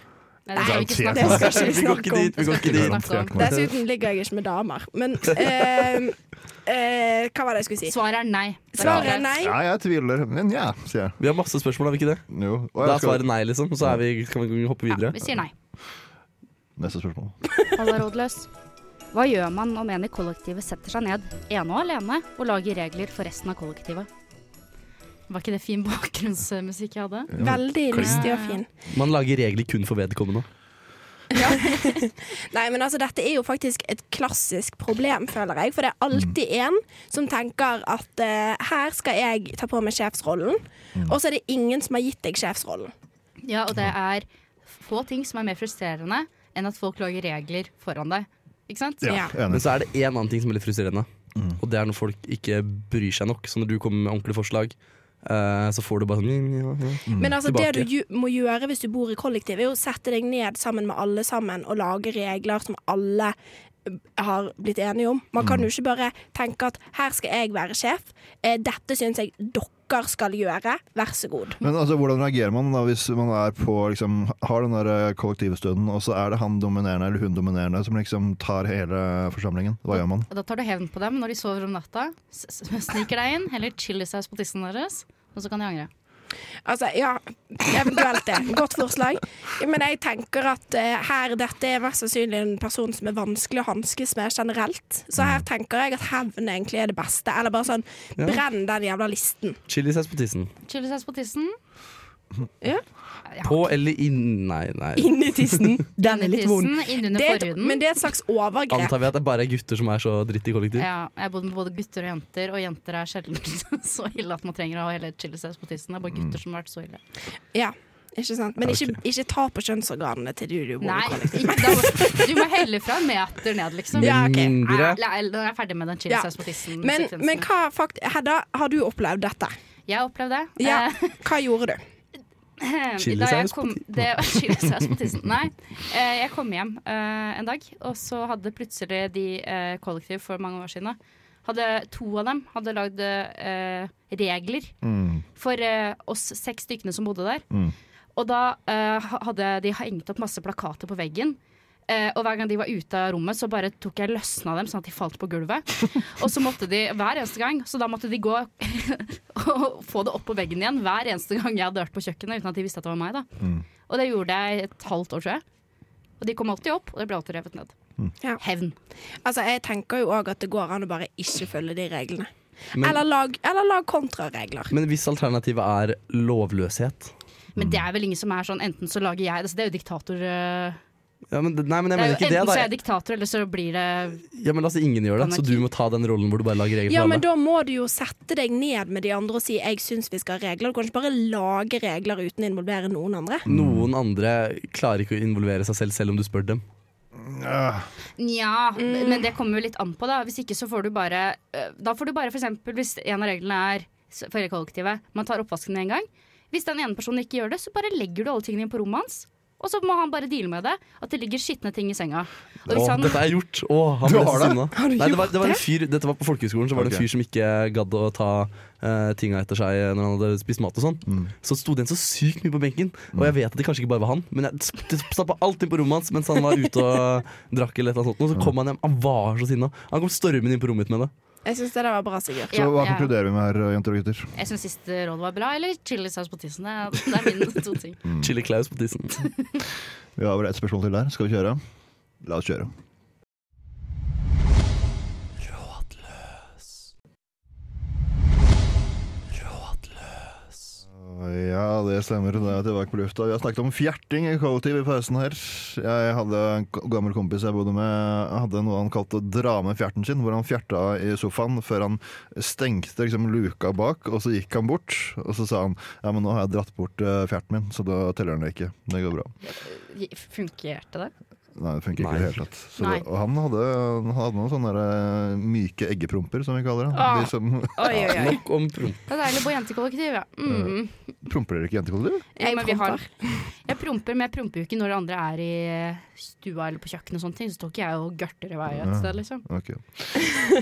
[SPEAKER 3] Nei, det skal vi ikke
[SPEAKER 4] Garantert.
[SPEAKER 3] snakke om.
[SPEAKER 6] Det skal
[SPEAKER 1] Vi går ikke dit. Vi går ikke
[SPEAKER 3] Det
[SPEAKER 1] dit.
[SPEAKER 3] skal vi ikke snakke om.
[SPEAKER 5] Dessuten ligger jeg ikke med damer. Men eh, eh, hva var det jeg skulle si?
[SPEAKER 3] Svaret er nei. Det er
[SPEAKER 5] Svaret
[SPEAKER 3] klart.
[SPEAKER 5] er nei.
[SPEAKER 4] Ja, jeg tviler, men ja, sier jeg.
[SPEAKER 1] Vi har masse spørsmål, har vi ikke det?
[SPEAKER 4] Jo. Og
[SPEAKER 1] Da
[SPEAKER 4] jeg
[SPEAKER 1] er
[SPEAKER 4] skal,
[SPEAKER 1] svaret nei, liksom. Så er vi, kan vi hoppe
[SPEAKER 3] Ja,
[SPEAKER 1] videre.
[SPEAKER 3] vi sier nei.
[SPEAKER 4] neste spørsmål.
[SPEAKER 8] Halla, rådløs. Hva gjør man om en i kollektivet setter seg ned, ene og alene, og lager regler for resten av kollektivet?
[SPEAKER 3] Var ikke det fin bakgrunnsmusikk jeg hadde?
[SPEAKER 5] Veldig lystig og fin.
[SPEAKER 1] Man lager regler kun for vedkommende.
[SPEAKER 5] Nei, men altså, dette er jo faktisk et klassisk problem, føler jeg. For det er alltid en som tenker at eh, her skal jeg ta på meg sjefsrollen, og så er det ingen som har gitt deg sjefsrollen.
[SPEAKER 3] Ja, og det er få ting som er mer frustrerende enn at folk lager regler foran deg. Ikke sant?
[SPEAKER 5] Ja.
[SPEAKER 1] Men
[SPEAKER 4] Enig. Mm.
[SPEAKER 1] så er det én annen ting som er litt frustrerende. Og det er når folk ikke bryr seg nok. Så når du kommer med ordentlige forslag, eh, så får du bare sånn ja, ja, ja.
[SPEAKER 5] Men altså, det
[SPEAKER 1] Tilbake.
[SPEAKER 5] du gju- må gjøre hvis du bor i kollektiv, er jo å sette deg ned sammen med alle sammen og lage regler som alle eh, har blitt enige om. Man kan jo ikke bare tenke at her skal jeg være sjef, eh, dette syns jeg dere skal gjøre, vær så god.
[SPEAKER 4] Men altså, hvordan reagerer man da hvis man er på, liksom, har den der kollektivstunden, og så er det han dominerende eller hun dominerende som liksom tar hele forsamlingen? Hva gjør man?
[SPEAKER 3] Og da tar du hevn på dem når de sover om natta. s- s- Sniker deg inn, heller chilisaus på tissen deres, og så kan de angre.
[SPEAKER 5] Altså, ja, eventuelt det. Godt forslag. Men jeg tenker at eh, her, dette er mest sannsynlig en person som er vanskelig å hanskes med generelt. Så her tenker jeg at hevn egentlig er det beste. Eller bare sånn, brenn den jævla listen.
[SPEAKER 1] Chilisaus på tissen.
[SPEAKER 3] Chilisaus på tissen.
[SPEAKER 5] Ja.
[SPEAKER 3] Ja,
[SPEAKER 1] På eller inn... Nei, nei.
[SPEAKER 6] Inni tissen. Den er
[SPEAKER 3] Inni
[SPEAKER 6] litt vond.
[SPEAKER 3] tissen, innunder
[SPEAKER 5] Det er et,
[SPEAKER 3] forhuden.
[SPEAKER 5] men det er et slags overgrep.
[SPEAKER 1] Antar vi at det bare er gutter som er så dritt i kollektiv?
[SPEAKER 3] Ja, jeg har bodd med både gutter og jenter, og jenter er sjelden så ille at man trenger å ha hele chilisaus på tissen. Det er bare
[SPEAKER 5] Mm.
[SPEAKER 3] gutter som har vært så ille.
[SPEAKER 5] Ja, ikke sant? Men ikke, ikke ta på kjønnsorganene til du, du bor
[SPEAKER 3] Nei,
[SPEAKER 5] i kollektiv.
[SPEAKER 3] ikke, da, må- du må helle fra en meter ned, liksom.
[SPEAKER 5] Ja, ok.
[SPEAKER 1] Mindre
[SPEAKER 3] Nei, nei, nå er jeg ferdig med den
[SPEAKER 5] Ja.
[SPEAKER 3] chilisaus på tissen.
[SPEAKER 5] Men, men hva fakt Hedda, har du opplevd dette?
[SPEAKER 3] Jeg opplevde det.
[SPEAKER 5] Ja.
[SPEAKER 3] Eh,
[SPEAKER 5] Hva gjorde du?
[SPEAKER 3] da jeg
[SPEAKER 1] Chilisaus på
[SPEAKER 3] kom, det, chilisaus på tissen. Nei, eh, jeg kom hjem eh, en dag, og så hadde plutselig de eh, kollektiv for mange år siden hadde, To av dem hadde lagd eh, regler
[SPEAKER 4] Mm.
[SPEAKER 3] for eh, oss seks stykkene som bodde der.
[SPEAKER 4] Mm.
[SPEAKER 3] Og da eh, ha- hadde de hengt opp masse plakater på veggen. Eh, og hver gang de var ute av rommet, så bare tok jeg løsna dem sånn at de falt på gulvet. Og så måtte de hver eneste gang, så da måtte de gå og få det opp på veggen igjen
[SPEAKER 1] Mm.
[SPEAKER 3] hver eneste gang jeg hadde vært på kjøkkenet uten at de visste at det var meg. da. Og det gjorde jeg et halvt år, tror jeg. Og de kom alltid opp, og de ble alltid revet ned.
[SPEAKER 1] Mm.
[SPEAKER 5] Ja.
[SPEAKER 3] Hevn.
[SPEAKER 5] Altså, jeg tenker jo òg at det går an å bare ikke følge de reglene.
[SPEAKER 1] Men-
[SPEAKER 5] eller, lag, eller lag kontraregler.
[SPEAKER 1] Men hvis alternativet er lovløshet Mm.
[SPEAKER 3] Men det er vel ingen som er sånn enten så lager jeg det, så det er jo diktator eh,
[SPEAKER 1] ja, men, Nei, men jeg
[SPEAKER 3] det er
[SPEAKER 1] mener
[SPEAKER 3] jo,
[SPEAKER 1] ikke det.
[SPEAKER 3] Enten så er jeg
[SPEAKER 1] Da.
[SPEAKER 3] diktator, eller så blir det
[SPEAKER 1] Ja, men La oss si ingen gjør det, så du må ta den rollen hvor du bare lager regler
[SPEAKER 5] Ja,
[SPEAKER 1] for
[SPEAKER 5] men
[SPEAKER 1] alle.
[SPEAKER 5] da må du jo sette deg ned med de andre og si 'jeg syns vi skal ha regler'. Du kan ikke bare lage regler uten å involvere noen andre.
[SPEAKER 1] Noen andre klarer ikke å involvere seg selv, selv om du spør dem.
[SPEAKER 3] Nja, men det kommer jo litt an på, da. Hvis ikke så får du bare eh, Da får du bare f.eks. hvis en av reglene er s- for hele kollektivet, man tar oppvasken én gang. Hvis den ene personen ikke gjør det, så bare legger du alle tingene inn på rommet hans. Og så må han bare deale med det, at det ligger skitne ting i senga. Og hvis
[SPEAKER 1] Å,
[SPEAKER 3] han,
[SPEAKER 1] dette er gjort! Å, han ble så sinna.
[SPEAKER 5] Har du
[SPEAKER 1] Nei, det var,
[SPEAKER 5] gjort
[SPEAKER 1] det var en
[SPEAKER 5] det?
[SPEAKER 1] fyr, dette var på folkehøyskolen, så var det en
[SPEAKER 4] Ok.
[SPEAKER 1] fyr som ikke gadd å ta eh, tinga etter seg når han hadde spist mat og sånn. Så sto det en så sykt mye på benken, og jeg vet at det kanskje ikke bare var han, men jeg sp- det stappa alt inn på rommet hans mens han var ute og drakk eller et eller annet sånt, og så kom han hjem, han var så sinna. Han kom stormende inn på rommet mitt med det.
[SPEAKER 5] Jeg syns det der var bra, Sigurd.
[SPEAKER 4] Så
[SPEAKER 3] Ja,
[SPEAKER 4] hva
[SPEAKER 3] ja.
[SPEAKER 4] konkluderer vi med her, jenter og gutter?
[SPEAKER 3] Jeg syns siste råd var bra, eller chilisaus på tissen. Det er- det er mine to ting.
[SPEAKER 1] Chili Klaus på tissen.
[SPEAKER 4] Vi har vel et spørsmål til der. Skal vi kjøre? La oss kjøre.
[SPEAKER 1] Mm.
[SPEAKER 4] Ja, det stemmer. Da er jeg tilbake på lufta. Vi har snakket om fjerting i kollektiv i pausen her. Jeg hadde en k- gammel kompis jeg bodde med, hadde noe han kalte å dra med fjerten sin, hvor han fjerta i sofaen før han stengte liksom, luka bak, og så gikk han bort. Og så sa han ja, men nå har jeg dratt bort eh, fjerten min, så da teller den ikke. Det går bra.
[SPEAKER 3] Funkerte det?
[SPEAKER 4] Nei, det funker ikke i
[SPEAKER 1] Nei.
[SPEAKER 4] det hele tatt. Så
[SPEAKER 3] Nei.
[SPEAKER 4] det, og han hadde, han hadde noen sånne der, eh, myke eggepromper, som vi kaller det.
[SPEAKER 3] Ah.
[SPEAKER 4] De som
[SPEAKER 3] Oi, oi, oi.
[SPEAKER 1] Nok om promp.
[SPEAKER 3] Det er deilig å bo i jentekollektiv, ja. Mm.
[SPEAKER 4] Eh, Promper dere ikke jentekollektiv?
[SPEAKER 3] Ja, men vi har,
[SPEAKER 5] promper.
[SPEAKER 3] jeg promper, men jeg promper jo ikke når andre er i eh, stua eller på kjøkkenet og sånne ting. Så står ikke jeg og gørter i vei et sted, liksom.
[SPEAKER 4] Ok.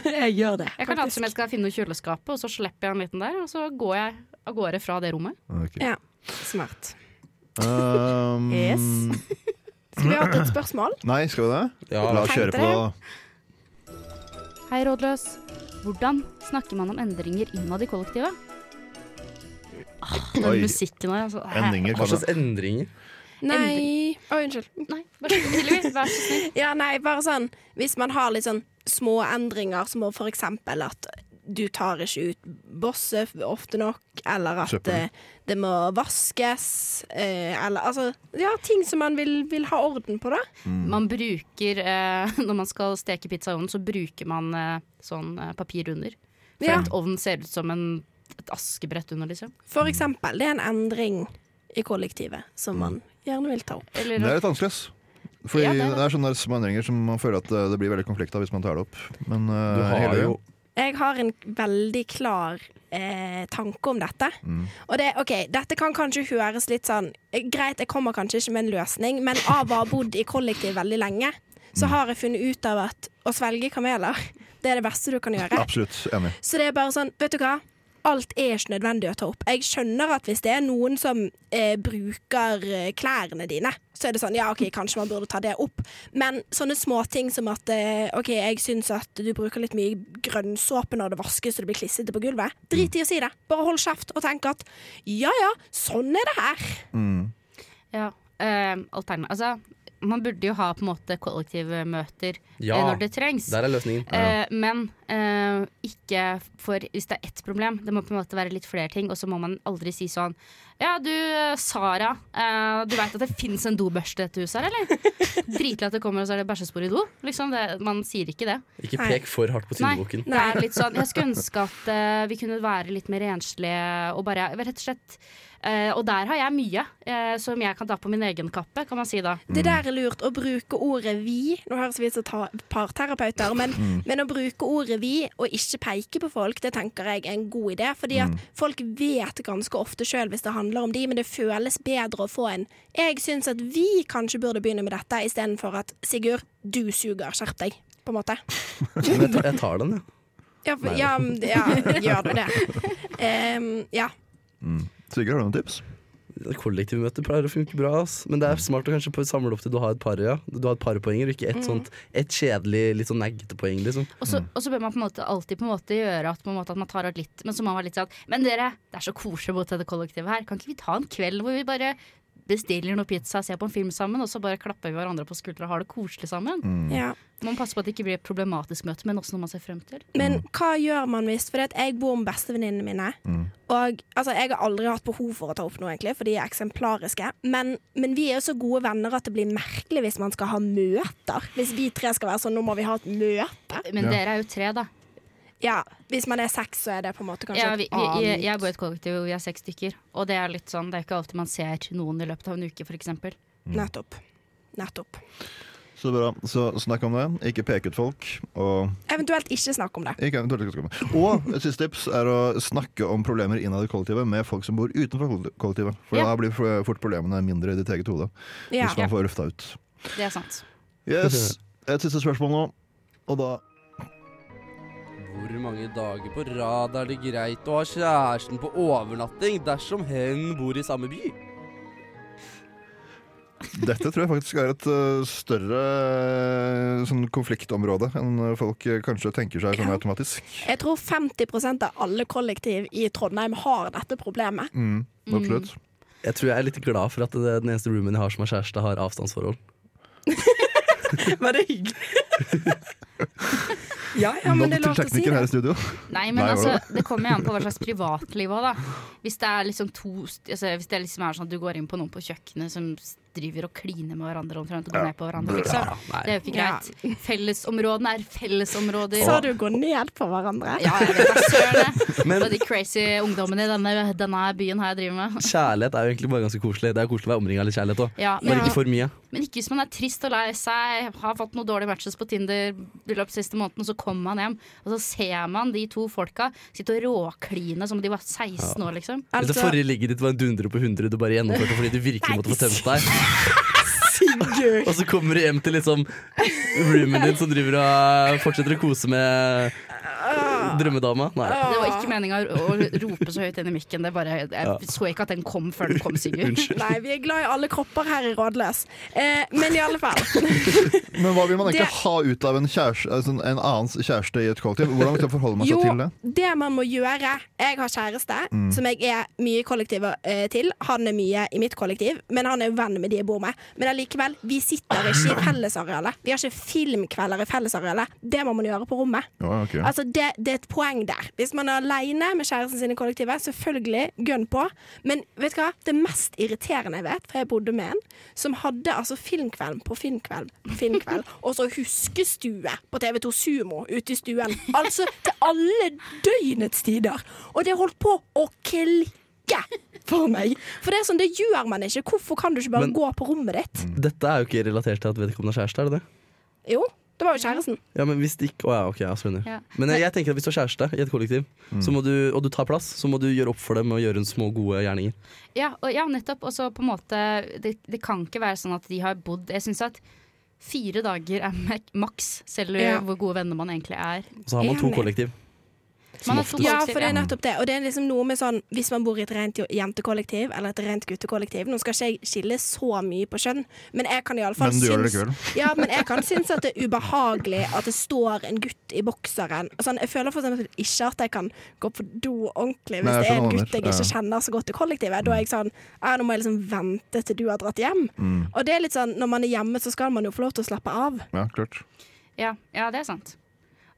[SPEAKER 6] Jeg gjør det.
[SPEAKER 3] Jeg kan late som jeg skal finne noe i kjøleskapet, og så slipper jeg en liten der, og så går jeg av gårde fra det rommet.
[SPEAKER 4] ok.
[SPEAKER 5] Ja. Smart.
[SPEAKER 4] Um,
[SPEAKER 5] Yes. Skulle vi hatt et spørsmål?
[SPEAKER 4] Nei, skal vi det?
[SPEAKER 1] Ja.
[SPEAKER 4] La oss kjøre på
[SPEAKER 5] Tenkte
[SPEAKER 4] det, da.
[SPEAKER 8] Hei, rådløs. Hvordan snakker man om endringer innad i kollektivet?
[SPEAKER 3] Den
[SPEAKER 4] Oi.
[SPEAKER 3] musikken her, altså. hæ?
[SPEAKER 4] Endinger
[SPEAKER 1] Hva
[SPEAKER 4] kan
[SPEAKER 1] slags endringer?
[SPEAKER 5] Nei Oi, unnskyld.
[SPEAKER 3] Nei, vær så snill, Hilvi, vær så snill.
[SPEAKER 5] Ja, nei, bare sånn Hvis man har litt sånn små endringer, som å for eksempel at du tar ikke ut bosset ofte nok, eller at
[SPEAKER 4] Søppel.
[SPEAKER 5] eh, det må vaskes, eh, eller altså Ja, ting som man vil, vil ha orden på, da.
[SPEAKER 3] Man bruker, eh, når man skal steke pizza i ovnen, så bruker man eh, sånn eh, papir under. For
[SPEAKER 5] Ja.
[SPEAKER 3] at ovnen ser ut som en, et askebrett under, liksom.
[SPEAKER 5] For eksempel. Det er en endring i kollektivet som man gjerne vil ta opp.
[SPEAKER 3] Eller
[SPEAKER 4] Det er litt vanskelig, ass. Fordi
[SPEAKER 3] Ja, det er
[SPEAKER 4] det, er
[SPEAKER 3] det.
[SPEAKER 4] sånne der små endringer som man føler at eh, det blir veldig konflikt av hvis man tar det opp. Men
[SPEAKER 1] Du
[SPEAKER 4] eh,
[SPEAKER 1] har
[SPEAKER 4] hele-
[SPEAKER 1] jo
[SPEAKER 5] Jeg har en veldig klar eh, tanke om dette. Og det, ok, dette kan kanskje høres litt sånn eh, Greit, jeg kommer kanskje ikke med en løsning, men av å ha bodd i kollektiv veldig lenge, så har jeg funnet ut av at å svelge kameler, det er det beste du kan gjøre.
[SPEAKER 4] Absolutt enig.
[SPEAKER 5] Så det er bare sånn, vet du hva? Alt er ikke nødvendig å ta opp. Jeg skjønner at hvis det er noen som eh, bruker eh, klærne dine, så er det sånn ja, OK, kanskje man burde ta det opp. Men sånne småting som at eh, OK, jeg syns at du bruker litt mye grønnsåpe når det vaskes og det blir klissete på gulvet. Drit i å si det. Bare hold kjeft og tenk at ja ja, sånn er det her.
[SPEAKER 3] Ja, eh, altern- Altså, man burde jo ha på en måte kollektivmøter
[SPEAKER 1] Ja,
[SPEAKER 3] eh, når det trengs.
[SPEAKER 1] Der er løsningen.
[SPEAKER 3] Eh, men eh, ikke for hvis det er ett problem. Det må på en måte være litt flere ting. Og så må man aldri si sånn Ja, du eh, Sara, eh, du veit at det fins en dobørste i dette huset her, eller? Dritlig at det kommer, og så er det bæsjespor i do. Liksom det, man sier ikke det.
[SPEAKER 1] Ikke
[SPEAKER 5] Nei.
[SPEAKER 1] pek for hardt på
[SPEAKER 3] Nei,
[SPEAKER 1] tynneboken.
[SPEAKER 3] det er litt sånn Jeg skulle ønske at eh, vi kunne være litt mer renslige og bare rett og slett eh, Og der har jeg mye eh, som jeg kan ta på min egen kappe, kan man si da.
[SPEAKER 5] Det der er lurt. Å bruke ordet 'vi' Nå høres vi ut som ta- parterapeuter, men, men å bruke ordet 'vi' og ikke peke på folk, det tenker jeg er en god idé. Fordi at folk vet ganske ofte sjøl hvis det handler om de, men det føles bedre å få en 'jeg syns at vi kanskje burde begynne med dette', istedenfor at 'Sigurd, du suger, skjerp deg'. På en måte.
[SPEAKER 1] Men jeg tar, jeg tar den, jeg.
[SPEAKER 5] Ja, for, ja, men- ja gjør du det? Em, ja.
[SPEAKER 4] Sigurd, har du noen tips?
[SPEAKER 1] Kollektivmøter pleier å funke bra, ass. men det er smart å kanskje på- samle opp til du har et par, ja. Du har et par poenger, og ikke
[SPEAKER 3] Mm.
[SPEAKER 1] et sånt et kjedelig, litt sånn neggete poeng, liksom.
[SPEAKER 3] Og så, og så bør man på en måte alltid på en måte gjøre at, på en måte at man tar ut litt, men så må man være litt sånn Men dere, det er så koselig å bo til det kollektivet her. Kan ikke vi ta en kveld hvor vi bare bestiller noe pizza, ser på en film sammen, og så bare klapper vi hverandre på skuldra og har det koselig sammen.
[SPEAKER 5] Ja.
[SPEAKER 3] Man passer på at det ikke blir et problematisk møte, men også noe man ser frem til.
[SPEAKER 5] Men
[SPEAKER 6] Mm.
[SPEAKER 5] hva gjør man hvis For jeg bor med bestevenninnene mine. Og altså, jeg har aldri hatt behov for å ta opp noe, egentlig, for de er eksemplariske. Men, men vi er jo så gode venner at det blir merkelig hvis man skal ha møter. Hvis vi tre skal være sånn 'nå må vi ha et møte'.
[SPEAKER 3] Men dere er jo tre, da.
[SPEAKER 5] Ja, Hvis man er seks, så er det på en måte kanskje
[SPEAKER 3] Ja, vi,
[SPEAKER 5] et
[SPEAKER 3] vi, jeg,
[SPEAKER 5] annet
[SPEAKER 3] jeg bor i et kollektiv hvor vi er seks stykker, og det er litt sånn, det er ikke alltid man ser noen i løpet av en uke, f.eks.
[SPEAKER 6] Mm.
[SPEAKER 5] Nettopp. Nettopp.
[SPEAKER 4] Så bra. Så snakk om det. Ikke pek ut folk. Og
[SPEAKER 5] Eventuelt ikke snakk om det.
[SPEAKER 4] Ikke, eventuelt ikke skal komme. Og et siste tips er å snakke om problemer innad i kollektivet med folk som bor utenfor koll- kollektivet. For
[SPEAKER 3] Ja.
[SPEAKER 4] da blir fort problemene mindre i ditt eget hode.
[SPEAKER 5] Ja.
[SPEAKER 4] Hvis man får lufta ut.
[SPEAKER 3] Det er sant.
[SPEAKER 4] Yes, Et siste spørsmål nå. Og da
[SPEAKER 1] Hvor mange dager på rad er det greit å ha kjæresten på overnatting dersom hen bor i samme by?
[SPEAKER 4] Dette tror jeg faktisk er et eh, større eh, sånn konfliktområde enn eh, folk eh, kanskje tenker seg sånn automatisk.
[SPEAKER 5] Jeg tror 50 av alle kollektiv i Trondheim har dette problemet.
[SPEAKER 4] Mm, absolutt.
[SPEAKER 1] Jeg tror jeg er litt glad for at det, den eneste roomien jeg har som er kjæreste, har avstandsforhold.
[SPEAKER 6] Var det hyggelig? ja, ja,
[SPEAKER 4] Nå
[SPEAKER 6] men det er
[SPEAKER 4] til
[SPEAKER 6] lov til å si
[SPEAKER 4] tekniker her
[SPEAKER 6] det.
[SPEAKER 4] i studio.
[SPEAKER 3] Nei, men
[SPEAKER 4] Nei, hva
[SPEAKER 3] altså, det kommer jo an på hva slags privatliv òg, da. Hvis det er liksom to st- altså, Hvis det liksom er sånn at du går inn på noen på kjøkkenet som s- driver og kliner med hverandre omtrent og går ned på hverandre, liksom. Det er jo ikke
[SPEAKER 6] Ja.
[SPEAKER 3] greit. Fellesområdene er fellesområder.
[SPEAKER 5] Sa du gå ned på hverandre?
[SPEAKER 3] Ja, jeg vet da søren det.
[SPEAKER 1] Men
[SPEAKER 3] Og de crazy ungdommene i denne, denne byen her jeg driver med.
[SPEAKER 1] kjærlighet er jo egentlig bare ganske koselig. Det er koselig å være omringa av litt kjærlighet òg.
[SPEAKER 3] Ja,
[SPEAKER 1] Bare
[SPEAKER 3] men,
[SPEAKER 1] ikke for mye.
[SPEAKER 3] men ikke hvis man er trist og lei seg, har fått noen dårlige matches på Tinder i løpet av siste måneden, og så kommer man hjem, og så ser man de to folka sitte og råkline som om de var 16 år, liksom.
[SPEAKER 1] Hvis det
[SPEAKER 5] Altså,
[SPEAKER 1] forrige ligget ditt var en dundre på 100, du bare gjennomførte fordi du virkelig måtte få tømt deg,
[SPEAKER 5] Sigurd!
[SPEAKER 1] og så kommer du hjem til liksom roomien din som driver og fortsetter å kose med drømmedama. Nei.
[SPEAKER 3] Det var ikke meninga å å rope så høyt inn i mikken. Det bare, jeg så ikke at den kom før den kom, Sigurd.
[SPEAKER 5] Nei, vi er glad i alle kropper her i Rådløs. Eh, men i alle fall.
[SPEAKER 4] Men hva vil man egentlig
[SPEAKER 5] Det-
[SPEAKER 4] ha ut av en, kjæreste, altså en annens kjæreste i et kollektiv? Hvordan skal man forholde man seg
[SPEAKER 5] Jo,
[SPEAKER 4] til Mm. det?
[SPEAKER 5] det man må gjøre Jeg har kjæreste som jeg er mye i kollektivet eh, til. Han er mye i mitt kollektiv, men han er jo venn med de jeg bor med. Men allikevel, vi sitter ikke i fellesarealet. Vi har ikke filmkvelder i fellesarealet. Det må man gjøre på rommet.
[SPEAKER 4] Ja, ok.
[SPEAKER 5] Altså, det, det er et poeng der. Hvis man er aleine med kjæresten sin i kollektivet, selvfølgelig gønn på. Men vet du hva? det mest irriterende jeg vet, for jeg bodde med en som hadde altså filmkvelden på filmkveld, på filmkveld og så huskestue på TV2 Sumo ute i stuen. Altså til alle døgnets tider. Og det holdt på å klikke for meg. For det er sånn, det gjør man ikke. Hvorfor kan du ikke bare
[SPEAKER 1] Men- Mm.
[SPEAKER 5] gå på rommet ditt?
[SPEAKER 1] Dette er jo ikke relatert til at vedkommende har kjæreste, er det det?
[SPEAKER 5] Jo, det var jo kjæresten.
[SPEAKER 1] Ja, men hvis det ikke Å ja, ok, jeg skjønner.
[SPEAKER 3] Ja.
[SPEAKER 1] Men eh, jeg, jeg tenker at hvis du har kjæreste i et kollektiv, så må du, og du tar plass, så må du gjøre opp for det med å gjøre en små, gode gjerninger.
[SPEAKER 3] Ja, og, ja nettopp. Og så på en måte det, det kan ikke være sånn at de har bodd Jeg syns at fire dager er mak- maks, selv
[SPEAKER 5] Ja.
[SPEAKER 3] hvor gode venner man egentlig er.
[SPEAKER 1] Og så har man to
[SPEAKER 5] Enig.
[SPEAKER 1] kollektiv.
[SPEAKER 3] Man har to
[SPEAKER 5] Ja,
[SPEAKER 3] folk,
[SPEAKER 5] for det er
[SPEAKER 3] ja.
[SPEAKER 5] nettopp det. Og det er liksom noe med sånn Hvis man bor i et rent jo- jentekollektiv eller et rent guttekollektiv Nå skal ikke jeg skille så mye på kjønn, men jeg kan iallfall
[SPEAKER 4] Men du gjør det
[SPEAKER 5] syns Ja, men jeg kan synes at det er ubehagelig at det står en gutt i bokseren. Sånn, jeg føler for eksempel ikke at jeg kan gå på do ordentlig hvis
[SPEAKER 4] Nei, jeg
[SPEAKER 5] det er en
[SPEAKER 4] skjønner hva
[SPEAKER 5] gutt jeg
[SPEAKER 4] du mener.
[SPEAKER 5] ikke kjenner så godt i kollektivet. Da er jeg sånn Ja, nå må jeg liksom vente til du har dratt hjem.
[SPEAKER 4] Mm.
[SPEAKER 5] Og det er litt sånn når man er hjemme, så skal man jo få lov til å slappe av.
[SPEAKER 4] Ja, klart.
[SPEAKER 3] Ja, ja, det er sant.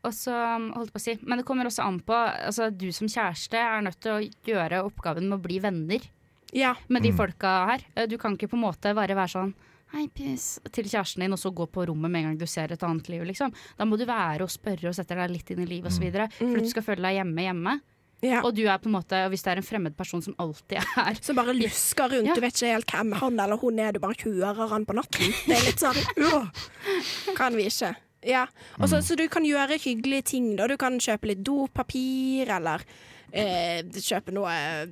[SPEAKER 3] Og så um, holdt på å si Men det kommer også an på altså, Du som kjæreste er nødt til å gjøre oppgaven med å bli venner
[SPEAKER 5] Ja.
[SPEAKER 3] med de folka her. Eh, Du kan ikke på en måte bare være sånn Hei, pis, til kjæresten din, og så gå på rommet med en gang du ser et annet liv. Liksom. Da må du være og spørre og sette deg litt inn i livet osv. videre For at du skal føle deg hjemme hjemme.
[SPEAKER 5] Mm. ja.
[SPEAKER 3] Og du er på en måte, og hvis det er en fremmed person som alltid er
[SPEAKER 5] Som bare lusker rundt.
[SPEAKER 3] Ja.
[SPEAKER 5] Du vet ikke helt hvem han eller hun er. Du bare kjører han på natten. Det er litt sånn øh, Kan vi ikke. Ja. Og
[SPEAKER 1] Mm.
[SPEAKER 5] så- så du kan gjøre hyggelige ting, da. Du kan kjøpe litt dopapir, eller eh, kjøpe noe eh,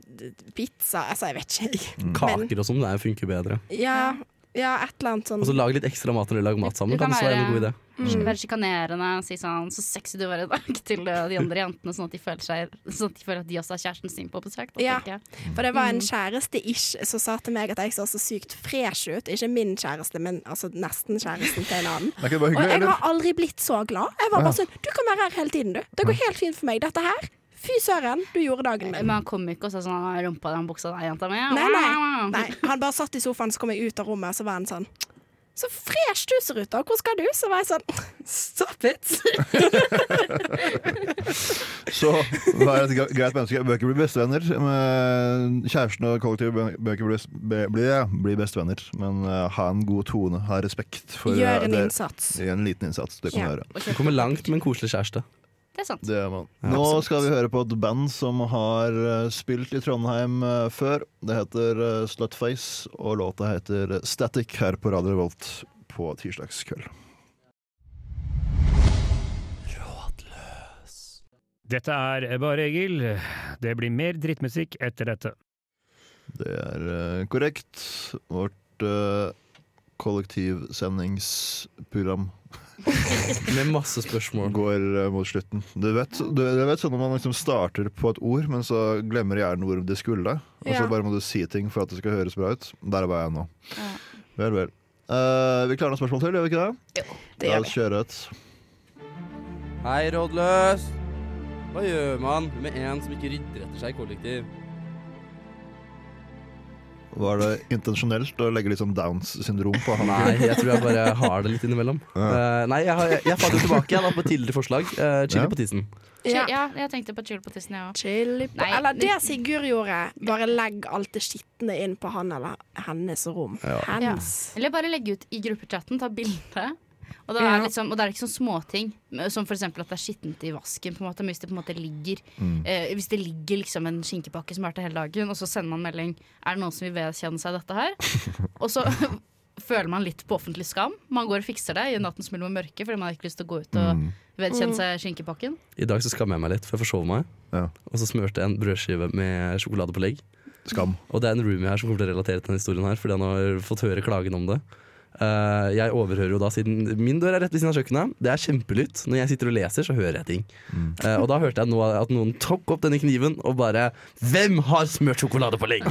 [SPEAKER 5] pizza. Altså, jeg vet ikke.
[SPEAKER 1] Kaker og sånn, det er- funker bedre.
[SPEAKER 5] Ja, ja et eller annet sånn.
[SPEAKER 1] Og så lag litt ekstra mat når dere lager mat sammen.
[SPEAKER 3] Du
[SPEAKER 1] Kan
[SPEAKER 3] kan
[SPEAKER 1] også være en
[SPEAKER 3] være-
[SPEAKER 1] god idé.
[SPEAKER 5] Mm.
[SPEAKER 3] Være sjikanerende og si sånn 'så sexy du var i dag' til eh, de andre jentene, sånn at de føler, seg, sånn at, de føler at de også har kjæresten sin på besøk. Da,
[SPEAKER 5] Ja.
[SPEAKER 3] tenker jeg.
[SPEAKER 5] For det var en kjæreste ish som sa til meg at jeg så så sykt fresh ut. Ikke min kjæreste, men altså nesten kjæresten til en annen.
[SPEAKER 4] Er ikke det bare
[SPEAKER 5] Og
[SPEAKER 4] hyggelig,
[SPEAKER 5] jeg
[SPEAKER 4] eller?
[SPEAKER 5] har aldri blitt så glad. Jeg var bare sånn Du kan være her hele tiden, du. Det går helt fint for meg. Dette her Fy søren, du gjorde dagen
[SPEAKER 3] Men
[SPEAKER 5] din.
[SPEAKER 3] han kom ikke og sa sånn «Ah, Rumpa di og buksa di, jenta mi.
[SPEAKER 5] Nei, nei, nei. Han bare satt i sofaen, så kom jeg ut av rommet, så var han sånn Så fresh du ser ut, da. Hvor skal du? Så var jeg sånn
[SPEAKER 6] Stop it!
[SPEAKER 4] Så vær et gre- greit menneske. Bør ikke bli bestevenner. Men eh, Kjæresten og kollektivet bør- bør ikke bli, be- bli, bli bestevenner, men eh, ha en god tone. Ha respekt for eh,
[SPEAKER 5] Gjør en
[SPEAKER 4] det-
[SPEAKER 5] innsats.
[SPEAKER 4] Gjør en liten innsats. Det kan
[SPEAKER 5] Ja.
[SPEAKER 4] du gjøre.
[SPEAKER 1] Du kommer langt med en koselig kjæreste.
[SPEAKER 3] Det er sant.
[SPEAKER 4] Det gjør man. Nå skal vi høre på et band som har eh, spilt i Trondheim eh, før. Det heter eh, Slutface, og låta heter Static her på Radio Revolt på tirsdagskveld.
[SPEAKER 9] Dette er Bare Egil. Det blir mer drittmusikk etter dette.
[SPEAKER 4] Det er eh, korrekt. Vårt eh, kollektivsendingsprogram
[SPEAKER 1] Med masse spørsmål.
[SPEAKER 4] går eh, mot slutten. Du vet, du, du vet sånn når man liksom starter på et ord, men så glemmer hjernen hvor det skulle. Og så
[SPEAKER 5] Ja.
[SPEAKER 4] bare må du si ting for at det skal høres bra ut. Der var jeg nå.
[SPEAKER 3] Ja.
[SPEAKER 4] Vel, vel. Eh, vi klarer noen spørsmål til, gjør vi ikke det?
[SPEAKER 5] Det
[SPEAKER 4] La
[SPEAKER 5] gjør
[SPEAKER 4] oss kjøre et.
[SPEAKER 1] Hei, rådløs! Hva gjør man med en som ikke rydder etter seg i kollektiv?
[SPEAKER 4] Var det intensjonelt å legge litt sånn Downs syndrom på han?
[SPEAKER 1] Nei, jeg tror jeg bare har det litt innimellom. Eh, nei, jeg, har- jeg, jeg faller tilbake jeg, da, på et tidligere forslag. Eh, chili
[SPEAKER 4] Ja.
[SPEAKER 1] på tissen.
[SPEAKER 5] Ja.
[SPEAKER 3] Ja. ja, jeg tenkte på chill på tissen, jeg òg.
[SPEAKER 5] Chili på
[SPEAKER 3] Nei,
[SPEAKER 5] Eller
[SPEAKER 3] det-
[SPEAKER 5] det Sigurd gjorde, bare legg alt det skitne inn på han eller hennes rom. Hens.
[SPEAKER 3] Eller bare legge ut i gruppechatten, ta bilde. Og da
[SPEAKER 5] Ja.
[SPEAKER 3] er, liksom, og det er ikke sånn småting, som f.eks. at det er skittent i vasken. På en måte, men hvis det på en måte ligger
[SPEAKER 5] Mm.
[SPEAKER 3] eh, Hvis det ligger liksom en skinkepakke som har vært der hele dagen, og så sender man melding Er det noen som vil vedkjenne seg dette her? og så føler man litt på offentlig skam. Man går og fikser det i nattens mulm og mørke fordi man har ikke lyst til å gå ut og
[SPEAKER 5] Mm.
[SPEAKER 3] vedkjenne seg skinkepakken.
[SPEAKER 1] I dag så skammer jeg meg litt, for jeg forsov meg.
[SPEAKER 4] Ja.
[SPEAKER 1] Og så smurte jeg en brødskive med sjokoladepålegg.
[SPEAKER 4] Skam.
[SPEAKER 1] Og det er en roomie her som kommer til å relatere til denne historien her, fordi han har fått høre klagen om det. Eh, jeg overhører jo da, siden min dør er rett ved siden av kjøkkenet. Det er kjempelytt. Når jeg sitter og leser, så hører jeg ting.
[SPEAKER 4] Mm.
[SPEAKER 1] Eh, og da hørte jeg nå at noen tok opp denne kniven og bare 'Hvem har smurt sjokolade på legg?'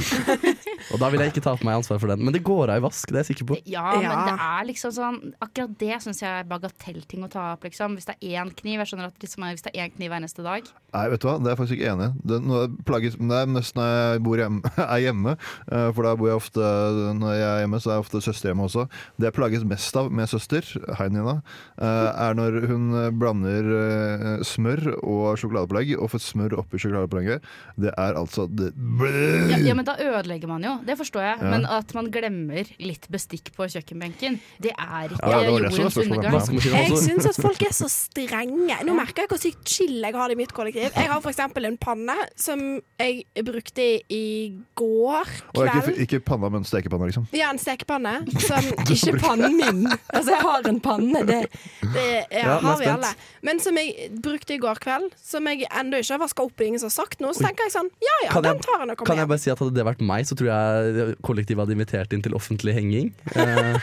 [SPEAKER 1] og da vil jeg ikke ta på meg ansvar for den. Men det går av i vask, det er jeg sikker på.
[SPEAKER 3] Ja, men
[SPEAKER 5] Ja.
[SPEAKER 3] det er liksom sånn Akkurat det syns jeg er bagatellting å ta opp, liksom. Hvis det er én kniv. Jeg skjønner at liksom, hvis det er én kniv hver neste dag
[SPEAKER 4] Nei, vet du hva, det er jeg faktisk ikke enig i. Det, noe jeg plages- men det er nesten når jeg bor hjemme, er hjemme eh, for da bor jeg ofte Når jeg er hjemme, så er jeg ofte søster hjemme også. Det jeg plages mest av med søster, hei Nina, eh, er når hun blander eh, smør og sjokoladepålegg, og får smør oppi sjokoladepålegget. Det er altså det
[SPEAKER 3] ja, ja, men da ødelegger man jo. Det forstår jeg. Men at man glemmer litt bestikk på kjøkkenbenken, det er ikke
[SPEAKER 4] Ja, det var det som var
[SPEAKER 3] jordens
[SPEAKER 4] spørsmålet.
[SPEAKER 3] undergang.
[SPEAKER 1] Vaskemaskinen
[SPEAKER 5] Jeg
[SPEAKER 1] også.
[SPEAKER 5] syns at folk er så strenge. Nå merker jeg hvor sykt chill jeg har det i mitt kollektiv. Jeg har f.eks. en panne som jeg brukte i går
[SPEAKER 4] Og ikke,
[SPEAKER 5] kveld.
[SPEAKER 4] ikke panna, men stekepanna, liksom.
[SPEAKER 5] Ja, en stekepanne. Som ikke pannen min. Altså, jeg har en panne. Det, det jeg
[SPEAKER 1] Ja, nå er jeg
[SPEAKER 5] har vi
[SPEAKER 1] spent.
[SPEAKER 5] alle. Men som jeg brukte i går kveld, som jeg ennå ikke har vaska opp, og ingen som har sagt noe, så tenker jeg sånn Ja ja,
[SPEAKER 1] Kan jeg-
[SPEAKER 5] den tar jeg når jeg
[SPEAKER 1] Kan jeg
[SPEAKER 5] kommer hjem.
[SPEAKER 1] bare si at hadde det vært meg, så tror jeg kollektivet hadde invitert inn til offentlig henging. Eh,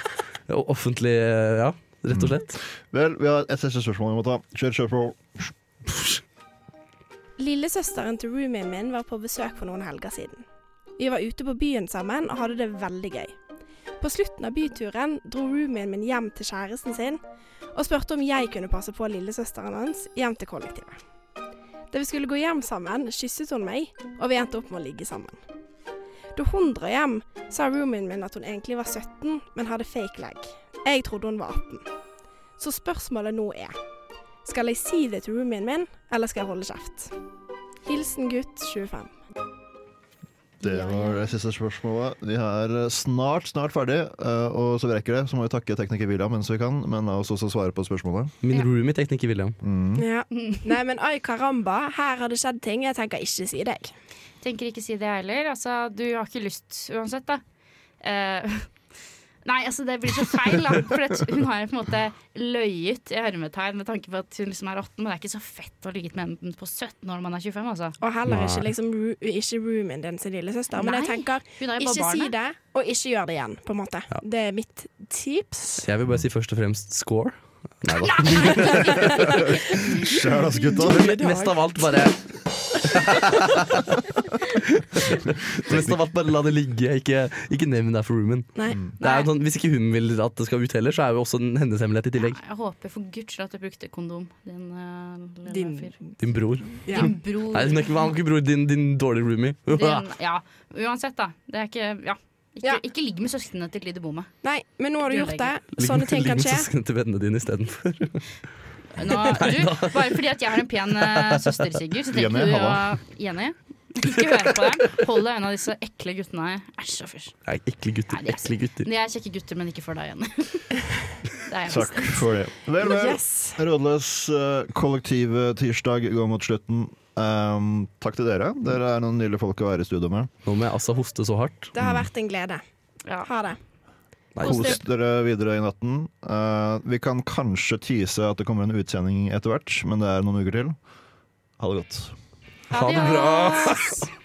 [SPEAKER 1] og offentlig, eh, ja, rett og slett.
[SPEAKER 4] Vel, vi har et siste spørsmål vi må ta. Kjør spørsmål.
[SPEAKER 5] Lillesøsteren til roomien min var på besøk for noen helger siden. Vi var ute på byen sammen og hadde det veldig gøy. På slutten av byturen dro roomien min hjem til kjæresten sin og spurte om jeg kunne passe på lillesøsteren hans hjem til kollektivet. Da vi skulle gå hjem sammen, kysset hun meg, og vi endte opp med å ligge sammen. Da hun dro hjem, sa roomien min at hun egentlig var 17, men hadde fake leg. Jeg trodde hun var 18. Så spørsmålet nå er skal jeg si det til roomien min, eller skal jeg holde kjeft? Hilsen gutt 25.
[SPEAKER 4] Det
[SPEAKER 3] Ja, ja.
[SPEAKER 4] var det siste spørsmålet. Vi er eh, snart snart ferdig, eh, og så vi rekker det, så må vi takke tekniker William mens vi kan. Men la oss også svare på spørsmålet.
[SPEAKER 1] Min
[SPEAKER 3] Ja.
[SPEAKER 1] roomie tekniker William.
[SPEAKER 5] Ja. Nei, men ai karamba, her har det skjedd ting. Jeg tenker ikke si deg.
[SPEAKER 3] Tenker ikke si det jeg heller. Altså, du har ikke lyst uansett, da. Eh, nei, altså, det blir så feil, da. For at hun har jo på en måte løyet i hermetegn med tanke på at hun liksom er 18, men det er ikke så fett å ha ligget med en på 17 når man er 25, altså.
[SPEAKER 5] Og heller
[SPEAKER 1] Nei.
[SPEAKER 5] ikke, liksom, ru- ikke roomien din sin lillesøster. Men jeg
[SPEAKER 3] Nei.
[SPEAKER 5] tenker,
[SPEAKER 3] Hun er jo bare
[SPEAKER 5] ikke si
[SPEAKER 3] barnet.
[SPEAKER 5] det, og ikke gjør det igjen, på en måte. Det er mitt tips.
[SPEAKER 1] Jeg vil bare si først og fremst score. Nei da.
[SPEAKER 4] Skjæl, ass, gutta!
[SPEAKER 1] Men mest av alt bare Det Mest av alt bare la det ligge. Ikke, ikke nevn det for roomien.
[SPEAKER 5] Nei.
[SPEAKER 1] Det er jo sånn, hvis ikke hun vil at det skal ut heller, så er jo også en hennes hemmelighet i tillegg.
[SPEAKER 3] Jeg håper for guds skyld at du brukte kondom, din eh, lille
[SPEAKER 6] Din-
[SPEAKER 3] fyr.
[SPEAKER 1] Din bror.
[SPEAKER 6] Ja.
[SPEAKER 3] Din bror.
[SPEAKER 1] Nei, hun er ikke, han er ikke bror. Din, din dårlige roomie.
[SPEAKER 3] din, ja. Uansett, da. Det er ikke Ja. Ikke,
[SPEAKER 5] Ja.
[SPEAKER 3] ikke ligg med søsknene til de du bor med.
[SPEAKER 5] Nei, men nå har du gjort det.
[SPEAKER 1] Ligg-
[SPEAKER 5] Sånne ting
[SPEAKER 1] ligg
[SPEAKER 5] kan
[SPEAKER 1] med
[SPEAKER 5] skje.
[SPEAKER 1] søsknene til vennene dine istedenfor.
[SPEAKER 3] Nå, du, bare fordi at jeg har en pen eh, søster, Sigurd, så
[SPEAKER 4] Jenny,
[SPEAKER 3] tenker du å
[SPEAKER 4] halla.
[SPEAKER 3] Jenny, ikke hør på dem. Hold deg unna disse ekle guttene. Æsj og fysj.
[SPEAKER 1] Nei, ekle gutter.
[SPEAKER 3] Nei, det er
[SPEAKER 1] Ekle gutter.
[SPEAKER 3] De er kjekke gutter, men ikke for deg, Jenny. Det er jeg
[SPEAKER 4] Takk for det. Vel, vel.
[SPEAKER 5] Yes.
[SPEAKER 4] Rådløs eh, kollektiv eh, tirsdag går mot slutten. Ehm, takk til dere. Dere er noen nydelige folk å være i studio med.
[SPEAKER 1] Nå må jeg altså hoste så hardt.
[SPEAKER 5] Det har vært en glede.
[SPEAKER 3] Ja.
[SPEAKER 5] Ha det.
[SPEAKER 1] Nei,
[SPEAKER 4] Kos dere videre i natten. Eh, vi kan kanskje tease at det kommer en utsending etter hvert, men det er noen uker til. Ha det godt.
[SPEAKER 1] Ha det bra!
[SPEAKER 3] Adios.